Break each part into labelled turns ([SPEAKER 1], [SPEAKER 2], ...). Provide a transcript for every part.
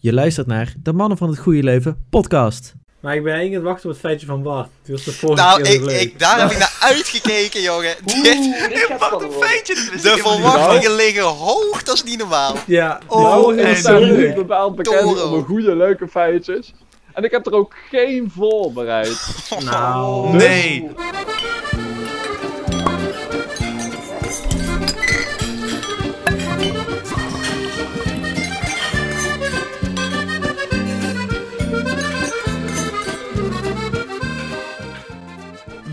[SPEAKER 1] Je luistert naar de Mannen van het Goede Leven podcast.
[SPEAKER 2] Maar ik ben eigenlijk aan het wachten op het feitje van Bart. Die was de vorige
[SPEAKER 3] Nou,
[SPEAKER 2] keer
[SPEAKER 3] ik,
[SPEAKER 2] zo leuk.
[SPEAKER 3] ik, daar heb ik naar uitgekeken, jongen. Dit,
[SPEAKER 4] Oeh, dit gaat
[SPEAKER 3] wat
[SPEAKER 4] spannend
[SPEAKER 3] een
[SPEAKER 4] worden.
[SPEAKER 3] feitje. De verwachtingen liggen hoog, dat is niet normaal.
[SPEAKER 2] Ja, die
[SPEAKER 3] Oh,
[SPEAKER 2] vorige
[SPEAKER 4] En
[SPEAKER 2] was
[SPEAKER 4] zo
[SPEAKER 2] zo
[SPEAKER 4] ben ik
[SPEAKER 2] leuk.
[SPEAKER 4] bepaald bekend
[SPEAKER 3] Toro.
[SPEAKER 4] om mijn goede, leuke feitjes. En ik heb er ook geen voorbereid.
[SPEAKER 3] Oh.
[SPEAKER 2] Nou,
[SPEAKER 3] Nee.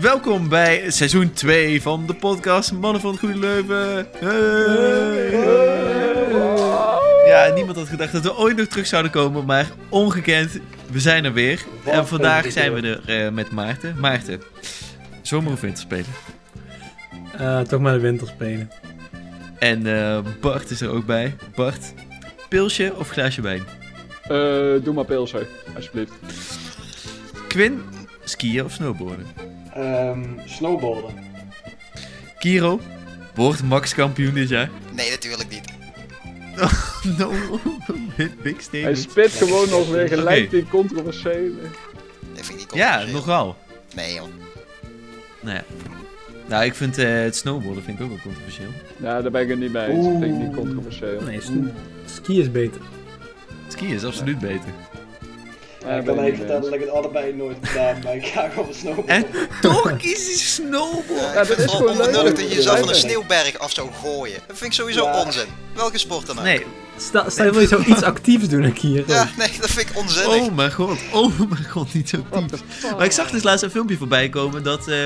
[SPEAKER 5] Welkom bij seizoen 2 van de podcast Mannen van het Goede Leven.
[SPEAKER 4] Eh,
[SPEAKER 5] Hey. Ja, niemand had gedacht dat we ooit nog terug zouden komen, maar ongekend, we zijn er weer. en vandaag zijn we er eh, met Maarten. Maarten, zomer of winterspelen.
[SPEAKER 2] eh, toch maar de winterspelen.
[SPEAKER 5] En eh, Bart is er ook bij. Bart, pilsje of glaasje wijn?
[SPEAKER 4] Eh, doe maar pilsen, alsjeblieft.
[SPEAKER 5] Quinn, skiën of snowboarden?
[SPEAKER 6] Ehm snowboarden.
[SPEAKER 5] Kiro, wordt Max kampioen dit jaar?
[SPEAKER 3] Nee, natuurlijk niet.
[SPEAKER 5] No, big statement.
[SPEAKER 4] Hij spit gewoon nog weer gelijk
[SPEAKER 5] Oké.
[SPEAKER 4] die controversiële.
[SPEAKER 3] Dat vind ik niet
[SPEAKER 5] Ja,
[SPEAKER 3] controversieel.
[SPEAKER 5] nogal.
[SPEAKER 3] Nee, joh.
[SPEAKER 5] Nou ja. Nou, ik vind eh, het snowboarden vind ik ook wel controversieel.
[SPEAKER 4] Ja, Nou, daar ben ik het niet mee eens. Ik vind ik niet controversieel.
[SPEAKER 2] Nee, s-
[SPEAKER 3] Mm.
[SPEAKER 2] ski is beter.
[SPEAKER 5] Skiën is absoluut beter.
[SPEAKER 4] Ja,
[SPEAKER 6] ik
[SPEAKER 4] ben
[SPEAKER 6] kan
[SPEAKER 4] ik
[SPEAKER 6] even
[SPEAKER 4] niet mee
[SPEAKER 6] vertellen
[SPEAKER 4] eens.
[SPEAKER 6] dat ik het allebei nooit heb gedaan, maar ik ga gewoon snowboarden.
[SPEAKER 5] En toch kies hij snowboard.
[SPEAKER 3] Ja, ik
[SPEAKER 4] dat
[SPEAKER 3] vind
[SPEAKER 4] is
[SPEAKER 3] het wel
[SPEAKER 4] gewoon leuk.
[SPEAKER 3] onbenullig dat je jezelf van een
[SPEAKER 4] Ja.
[SPEAKER 3] sneeuwberg af zou gooien. Dat vind ik sowieso
[SPEAKER 6] Ja.
[SPEAKER 3] onzin. Welke sport dan ook.
[SPEAKER 5] Nee.
[SPEAKER 2] Sta, sta je wil je zo iets actiefs doen, ik hier.
[SPEAKER 3] Ja, nee, dat vind ik onzinnig.
[SPEAKER 5] Oh mijn god. Oh mijn god, niet zo diep. Maar ik zag dus laatst een filmpje voorbij komen dat eh,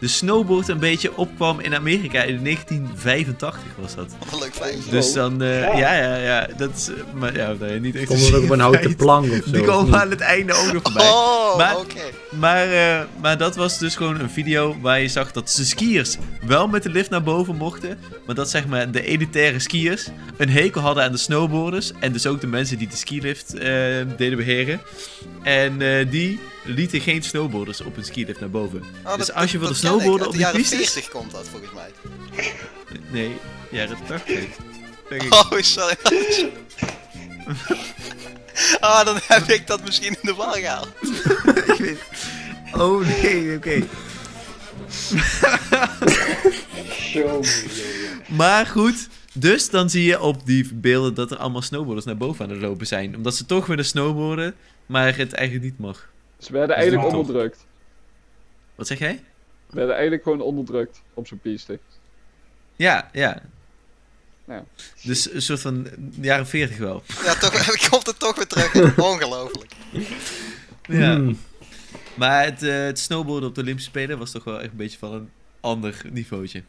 [SPEAKER 5] de snowboard een beetje opkwam in Amerika in 1985 was dat.
[SPEAKER 3] Wat een leuk feitje.
[SPEAKER 5] Dus dan, eh,
[SPEAKER 6] Ja.
[SPEAKER 5] ja, ja, ja. Dat is, eh, maar ja, nee, niet echt
[SPEAKER 2] Komt dat ook op een houten
[SPEAKER 5] feit.
[SPEAKER 2] plank of zo?
[SPEAKER 5] Die
[SPEAKER 2] of niet?
[SPEAKER 5] komen aan het einde ook nog voorbij.
[SPEAKER 3] Oh,
[SPEAKER 5] Maar-
[SPEAKER 3] oké.
[SPEAKER 5] Maar, eh, maar dat was dus gewoon een video waar je zag dat de skiers wel met de lift naar boven mochten. Maar dat zeg maar de elitaire skiers een hekel hadden aan de snowboarders. En dus ook de mensen die de skilift eh, deden beheren. En eh, die lieten geen snowboarders op een skilift naar boven.
[SPEAKER 3] Oh, dat-
[SPEAKER 5] dus als je
[SPEAKER 3] dat-
[SPEAKER 5] wilde
[SPEAKER 3] dat ken ik. Uit
[SPEAKER 5] snowboarden op
[SPEAKER 3] de
[SPEAKER 5] die
[SPEAKER 3] jaren
[SPEAKER 5] pistes...
[SPEAKER 3] 40 komt dat volgens mij.
[SPEAKER 5] Nee, jaren 80. Denk ik.
[SPEAKER 3] Oh, sorry. Ah, dan heb ik dat misschien in de war gehaald.
[SPEAKER 5] Oh nee, oké.
[SPEAKER 6] Show me, jongen.
[SPEAKER 5] Maar goed, dus dan zie je op die beelden dat er allemaal snowboarders naar boven aan het lopen zijn. Omdat ze toch willen snowboarden, maar het eigenlijk niet mag.
[SPEAKER 4] Ze werden eigenlijk
[SPEAKER 6] Wow.
[SPEAKER 4] onderdrukt.
[SPEAKER 5] Wat zeg jij?
[SPEAKER 4] Ze werden eigenlijk gewoon onderdrukt op zo'n piste.
[SPEAKER 5] Ja, ja.
[SPEAKER 4] Ja.
[SPEAKER 5] Dus een soort van jaren 40 wel.
[SPEAKER 3] Ja, toch, komt het toch weer terug. Ongelooflijk.
[SPEAKER 5] Ja.
[SPEAKER 2] Hmm.
[SPEAKER 5] Maar het, eh, het snowboarden op de Olympische Spelen was toch wel echt een beetje van een ander niveautje.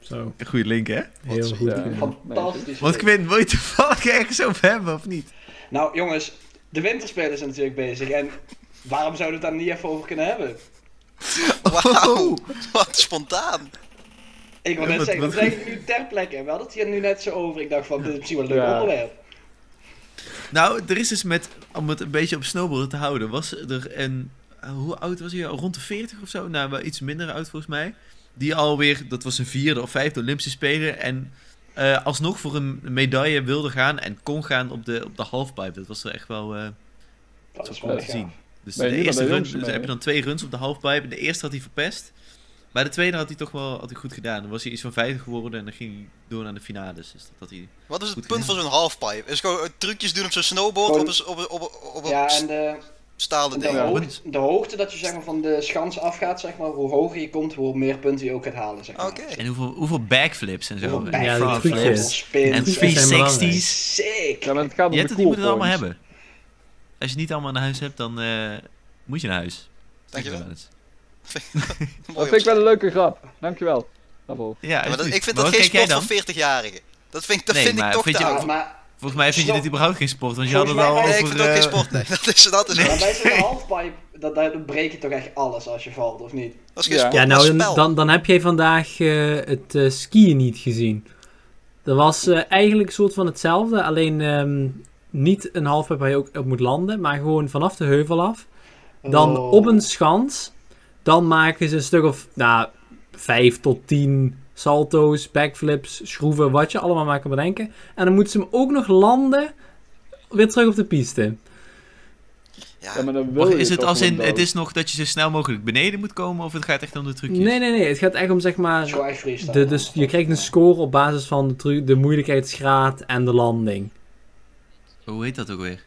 [SPEAKER 2] Zo,
[SPEAKER 5] Een goede link, hè?
[SPEAKER 2] heel
[SPEAKER 3] zo,
[SPEAKER 2] goed.
[SPEAKER 4] ja.
[SPEAKER 2] Ja.
[SPEAKER 6] Fantastisch.
[SPEAKER 5] Want Quinn, wil je toevallig ergens over hebben of niet?
[SPEAKER 6] Nou jongens, de winterspelen zijn natuurlijk bezig en waarom zouden we het daar niet even over kunnen hebben?
[SPEAKER 3] Wauw. Wat spontaan.
[SPEAKER 6] Ik wil
[SPEAKER 5] Ja,
[SPEAKER 6] net
[SPEAKER 5] wat-
[SPEAKER 6] zeggen, we
[SPEAKER 5] wat-
[SPEAKER 6] zijn nu ter plekke en we hadden het hier nu net zo over. Ik dacht van, dit is misschien wel een leuk
[SPEAKER 4] Ja.
[SPEAKER 6] onderwerp.
[SPEAKER 5] Nou, er is dus met, om het een beetje op snowboarden te houden, was er een, eh, hoe oud was hij? Rond de 40 of zo? Nou, wel iets minder oud volgens mij. Die alweer, dat was een vierde of vijfde Olympische Spelen en eh, alsnog voor een medaille wilde gaan en kon gaan op de, op de halfpipe. Dat was er echt wel, eh,
[SPEAKER 6] Dat
[SPEAKER 5] zo
[SPEAKER 6] is
[SPEAKER 5] cool
[SPEAKER 6] wel
[SPEAKER 5] te
[SPEAKER 6] gaaf.
[SPEAKER 5] zien. Dus
[SPEAKER 4] Ben je
[SPEAKER 5] de
[SPEAKER 4] niet
[SPEAKER 5] eerste
[SPEAKER 4] bij de
[SPEAKER 5] run,
[SPEAKER 4] jongste
[SPEAKER 5] dus
[SPEAKER 4] mee,
[SPEAKER 5] heb je
[SPEAKER 4] hè?
[SPEAKER 5] dan twee runs op de halfpipe. De eerste had hij verpest, maar de tweede had hij toch wel had hij goed gedaan. Dan was hij iets van vijfde geworden en dan ging hij door naar de finales. Dus dat had hij...
[SPEAKER 3] Wat is het
[SPEAKER 5] Goed
[SPEAKER 3] punt van zo'n halfpipe? Is gewoon eh, trucjes doen op zo'n snowboard op
[SPEAKER 6] Gewoon-
[SPEAKER 3] een, s- op een, op een, op een
[SPEAKER 6] Ja,
[SPEAKER 3] s-
[SPEAKER 6] en de,
[SPEAKER 3] stalen
[SPEAKER 6] de,
[SPEAKER 3] ding.
[SPEAKER 5] Ja,
[SPEAKER 6] hoogte, de hoogte dat je zeg maar, van de schans afgaat, zeg maar, hoe hoger je komt, hoe meer punten je ook gaat halen. Zeg maar.
[SPEAKER 3] Oké.
[SPEAKER 5] En hoeveel, hoeveel backflips en zo.
[SPEAKER 6] Hoeveel
[SPEAKER 5] En
[SPEAKER 2] Ja, die
[SPEAKER 5] frontflips.
[SPEAKER 2] trucjes.
[SPEAKER 6] spins.
[SPEAKER 5] En
[SPEAKER 2] Die trucjes zijn belangrijk.
[SPEAKER 5] 360's.
[SPEAKER 6] Sick!
[SPEAKER 4] Ja, maar het gaat om
[SPEAKER 5] Je
[SPEAKER 4] de
[SPEAKER 5] hebt het, die moeten het allemaal
[SPEAKER 4] coolpoints.
[SPEAKER 5] hebben. Als je het niet allemaal naar huis hebt, dan eh, moet je naar huis. Zeg ik
[SPEAKER 3] Dankjewel.
[SPEAKER 5] wel eens.
[SPEAKER 4] Dat
[SPEAKER 3] Mooi
[SPEAKER 4] vind ik wel
[SPEAKER 3] opschrijven.
[SPEAKER 4] een leuke grap. Dankjewel. Daarvoor.
[SPEAKER 5] Ja,
[SPEAKER 3] Ja, maar dat-
[SPEAKER 5] alsjeblieft.
[SPEAKER 3] ik vind
[SPEAKER 5] Maar
[SPEAKER 3] dat
[SPEAKER 5] wat
[SPEAKER 3] geen
[SPEAKER 5] kijk jij
[SPEAKER 3] sport van
[SPEAKER 5] dan?
[SPEAKER 3] 40-jarigen. Dat vind ik, dat
[SPEAKER 5] Nee,
[SPEAKER 3] vind ik
[SPEAKER 5] maar
[SPEAKER 3] toch
[SPEAKER 5] vind
[SPEAKER 3] te
[SPEAKER 5] je
[SPEAKER 3] oud.
[SPEAKER 6] Ja, maar
[SPEAKER 5] Volgens mij vind je dit überhaupt geen sport, want je had het al
[SPEAKER 6] Volgens mij-
[SPEAKER 5] over...
[SPEAKER 3] Nee, ik vind het ook geen
[SPEAKER 5] eh,
[SPEAKER 3] sport. Nee, dat is, dat is,
[SPEAKER 6] Maar
[SPEAKER 3] dat
[SPEAKER 6] bij zo'n halfpipe, dat, dat breek je toch echt alles als je valt, of niet?
[SPEAKER 3] is geen
[SPEAKER 4] Ja.
[SPEAKER 3] sport.
[SPEAKER 2] Ja,
[SPEAKER 3] dat is
[SPEAKER 2] nou,
[SPEAKER 3] spel.
[SPEAKER 2] dan, dan, dan heb jij vandaag eh, het eh, skiën niet gezien. Dat was eh, eigenlijk een soort van hetzelfde, alleen ehm, niet een halfpipe waar je ook op moet landen, maar gewoon vanaf de heuvel af. Dan
[SPEAKER 6] Oh.
[SPEAKER 2] op een schans. Dan maken ze een stuk of nou, 5 tot 10 salto's, backflips, schroeven, wat je allemaal maar kan bedenken. En dan moeten ze hem ook nog landen weer terug op de piste.
[SPEAKER 3] Ja,
[SPEAKER 4] Ja, maar dan wil
[SPEAKER 5] Wacht,
[SPEAKER 4] je
[SPEAKER 5] is het
[SPEAKER 4] toch
[SPEAKER 5] als in,
[SPEAKER 4] gewoon
[SPEAKER 5] het
[SPEAKER 4] dood.
[SPEAKER 5] is nog dat je zo snel mogelijk beneden moet komen, of het gaat echt om de trucjes?
[SPEAKER 2] Nee, nee, nee. Het gaat echt om zeg maar.
[SPEAKER 6] Gewoon echt freestyle.
[SPEAKER 2] De, dus je krijgt een score op basis van de, tru- de moeilijkheidsgraad en de landing.
[SPEAKER 5] Hoe heet dat ook weer?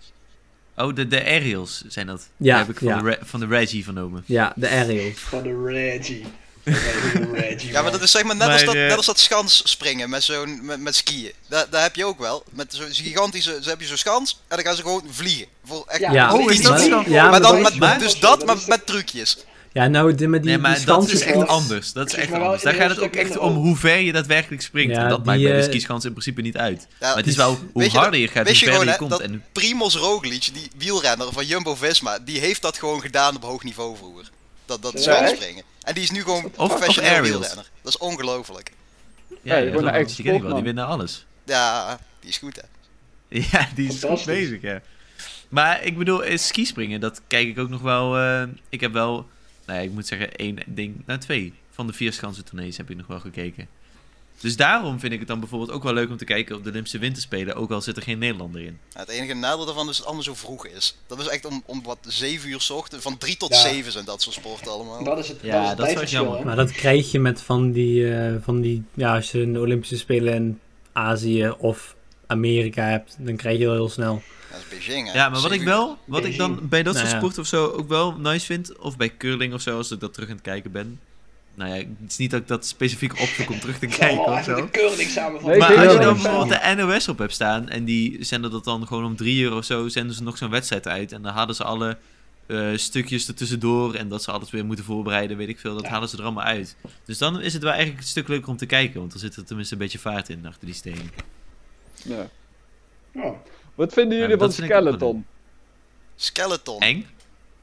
[SPEAKER 5] Oh, de, de aerials zijn dat.
[SPEAKER 2] Ja,
[SPEAKER 5] Die heb ik van,
[SPEAKER 2] ja.
[SPEAKER 5] de, Re- van de Reggie vernomen.
[SPEAKER 2] Ja, de E aerial.
[SPEAKER 6] Van de Reggie. Van de Reggie.
[SPEAKER 3] ja, maar dat is zeg maar net, als,
[SPEAKER 5] Maar,
[SPEAKER 3] dat,
[SPEAKER 5] eh,
[SPEAKER 3] net als dat schans springen met, zo'n, met, met skiën. Dat, dat heb je ook wel. Met zo'n gigantische, zo heb je zo'n schans en dan gaan ze gewoon vliegen. Voor echt,
[SPEAKER 6] Ja,
[SPEAKER 2] Ja,
[SPEAKER 5] oh, is
[SPEAKER 3] die-
[SPEAKER 5] dat
[SPEAKER 3] die-
[SPEAKER 5] zo?
[SPEAKER 2] Ja, maar
[SPEAKER 3] maar
[SPEAKER 2] dat
[SPEAKER 3] dan
[SPEAKER 2] is-
[SPEAKER 3] met,
[SPEAKER 5] maar-
[SPEAKER 3] dus dat, maar
[SPEAKER 6] is-
[SPEAKER 3] met trucjes.
[SPEAKER 2] Ja, nou, die, maar die,
[SPEAKER 5] nee,
[SPEAKER 2] die
[SPEAKER 5] maar dat
[SPEAKER 2] schansen
[SPEAKER 5] is
[SPEAKER 2] zijn-
[SPEAKER 5] echt anders. Dat is
[SPEAKER 6] Precies,
[SPEAKER 5] echt
[SPEAKER 6] maar wel
[SPEAKER 5] anders. Daar gaat het
[SPEAKER 6] inderdaad
[SPEAKER 5] ook
[SPEAKER 6] een
[SPEAKER 5] echt
[SPEAKER 6] stuk
[SPEAKER 5] om
[SPEAKER 6] minder
[SPEAKER 5] hoe ver je daadwerkelijk springt.
[SPEAKER 2] Ja,
[SPEAKER 5] en dat
[SPEAKER 2] die,
[SPEAKER 5] maakt bij de
[SPEAKER 2] eh,
[SPEAKER 5] skischans in principe niet uit.
[SPEAKER 3] Ja,
[SPEAKER 5] maar het is wel hoe
[SPEAKER 3] weet je
[SPEAKER 5] harder je gaat, hoe
[SPEAKER 3] weet je
[SPEAKER 5] verder
[SPEAKER 3] gewoon,
[SPEAKER 5] je
[SPEAKER 3] hè,
[SPEAKER 5] komt.
[SPEAKER 3] dat-
[SPEAKER 5] En,
[SPEAKER 3] Primoz Roglic, die wielrenner van Jumbo-Visma, die heeft dat gewoon gedaan op hoog niveau vroeger. Dat, dat
[SPEAKER 6] Ja,
[SPEAKER 3] zwaar
[SPEAKER 6] echt?
[SPEAKER 3] springen. En die is nu gewoon
[SPEAKER 5] of
[SPEAKER 3] professioneel
[SPEAKER 5] aerials.
[SPEAKER 3] wielrenner. Dat is ongelooflijk.
[SPEAKER 5] ja, ja,
[SPEAKER 4] gewoon
[SPEAKER 5] dat
[SPEAKER 4] een
[SPEAKER 5] is
[SPEAKER 4] echte
[SPEAKER 5] die ken ik wel. Die
[SPEAKER 4] sportman.
[SPEAKER 5] winnen alles.
[SPEAKER 3] Ja, die is goed hè.
[SPEAKER 5] Ja, die is goed
[SPEAKER 6] Fantastisch.
[SPEAKER 5] bezig, ja. Maar ik bedoel, eh, skispringen, dat kijk ik ook nog wel. eh, ik heb wel, nou ja, ik moet zeggen, één ding, nou twee van de vier schansen tournees heb ik nog wel gekeken. Dus daarom vind ik het dan bijvoorbeeld ook wel leuk om te kijken op de Olympische Winterspelen, ook al zit er geen Nederlander in.
[SPEAKER 3] Nou, het enige nadeel daarvan is dat het allemaal zo vroeg is. Dat is echt om, om wat 7 uur 's ochtend, van 3 tot
[SPEAKER 6] Ja.
[SPEAKER 3] 7 zijn dat soort sporten allemaal.
[SPEAKER 6] Dat is het,
[SPEAKER 5] Ja,
[SPEAKER 6] dat is het
[SPEAKER 5] dat is wel
[SPEAKER 6] tijdverschil,
[SPEAKER 5] jammer.
[SPEAKER 6] hè?
[SPEAKER 2] Maar dat krijg je met van die, eh, van die ja, als je een Olympische Spelen in Azië of Amerika hebt, dan krijg je dat heel snel.
[SPEAKER 3] Dat is Beijing hè.
[SPEAKER 5] Ja, maar wat ik
[SPEAKER 3] Zeven
[SPEAKER 5] wel, wat ik dan bij dat
[SPEAKER 2] Nou
[SPEAKER 5] soort
[SPEAKER 2] ja.
[SPEAKER 5] sporten of zo ook wel nice vind, of bij curling of zo, als ik dat terug aan het kijken ben. Nou ja, het is niet dat ik dat specifiek opzoek om terug te
[SPEAKER 6] Ik zal wel
[SPEAKER 5] kijken of
[SPEAKER 6] even
[SPEAKER 5] zo.
[SPEAKER 6] de keuring samen van
[SPEAKER 4] Nee,
[SPEAKER 5] maar
[SPEAKER 4] ik
[SPEAKER 5] als je
[SPEAKER 4] denk
[SPEAKER 5] dan
[SPEAKER 4] dat
[SPEAKER 2] dus-
[SPEAKER 4] het
[SPEAKER 5] bijvoorbeeld de NOS op hebt staan en die zenden dat dan gewoon om drie uur of zo, zenden ze nog zo'n wedstrijd uit. En dan hadden ze alle eh, stukjes ertussendoor en dat ze alles weer moeten voorbereiden, weet ik veel. Dat
[SPEAKER 6] Ja.
[SPEAKER 5] halen ze er allemaal uit. Dus dan is het wel eigenlijk een stuk leuker om te kijken, want dan zit er tenminste een beetje vaart in achter die stenen.
[SPEAKER 4] Ja.
[SPEAKER 6] Ja.
[SPEAKER 4] Wat vinden
[SPEAKER 5] Ja,
[SPEAKER 4] jullen
[SPEAKER 5] dat
[SPEAKER 4] van
[SPEAKER 5] vind ik ook wel
[SPEAKER 4] Skeleton?
[SPEAKER 3] Skeleton.
[SPEAKER 5] Eng.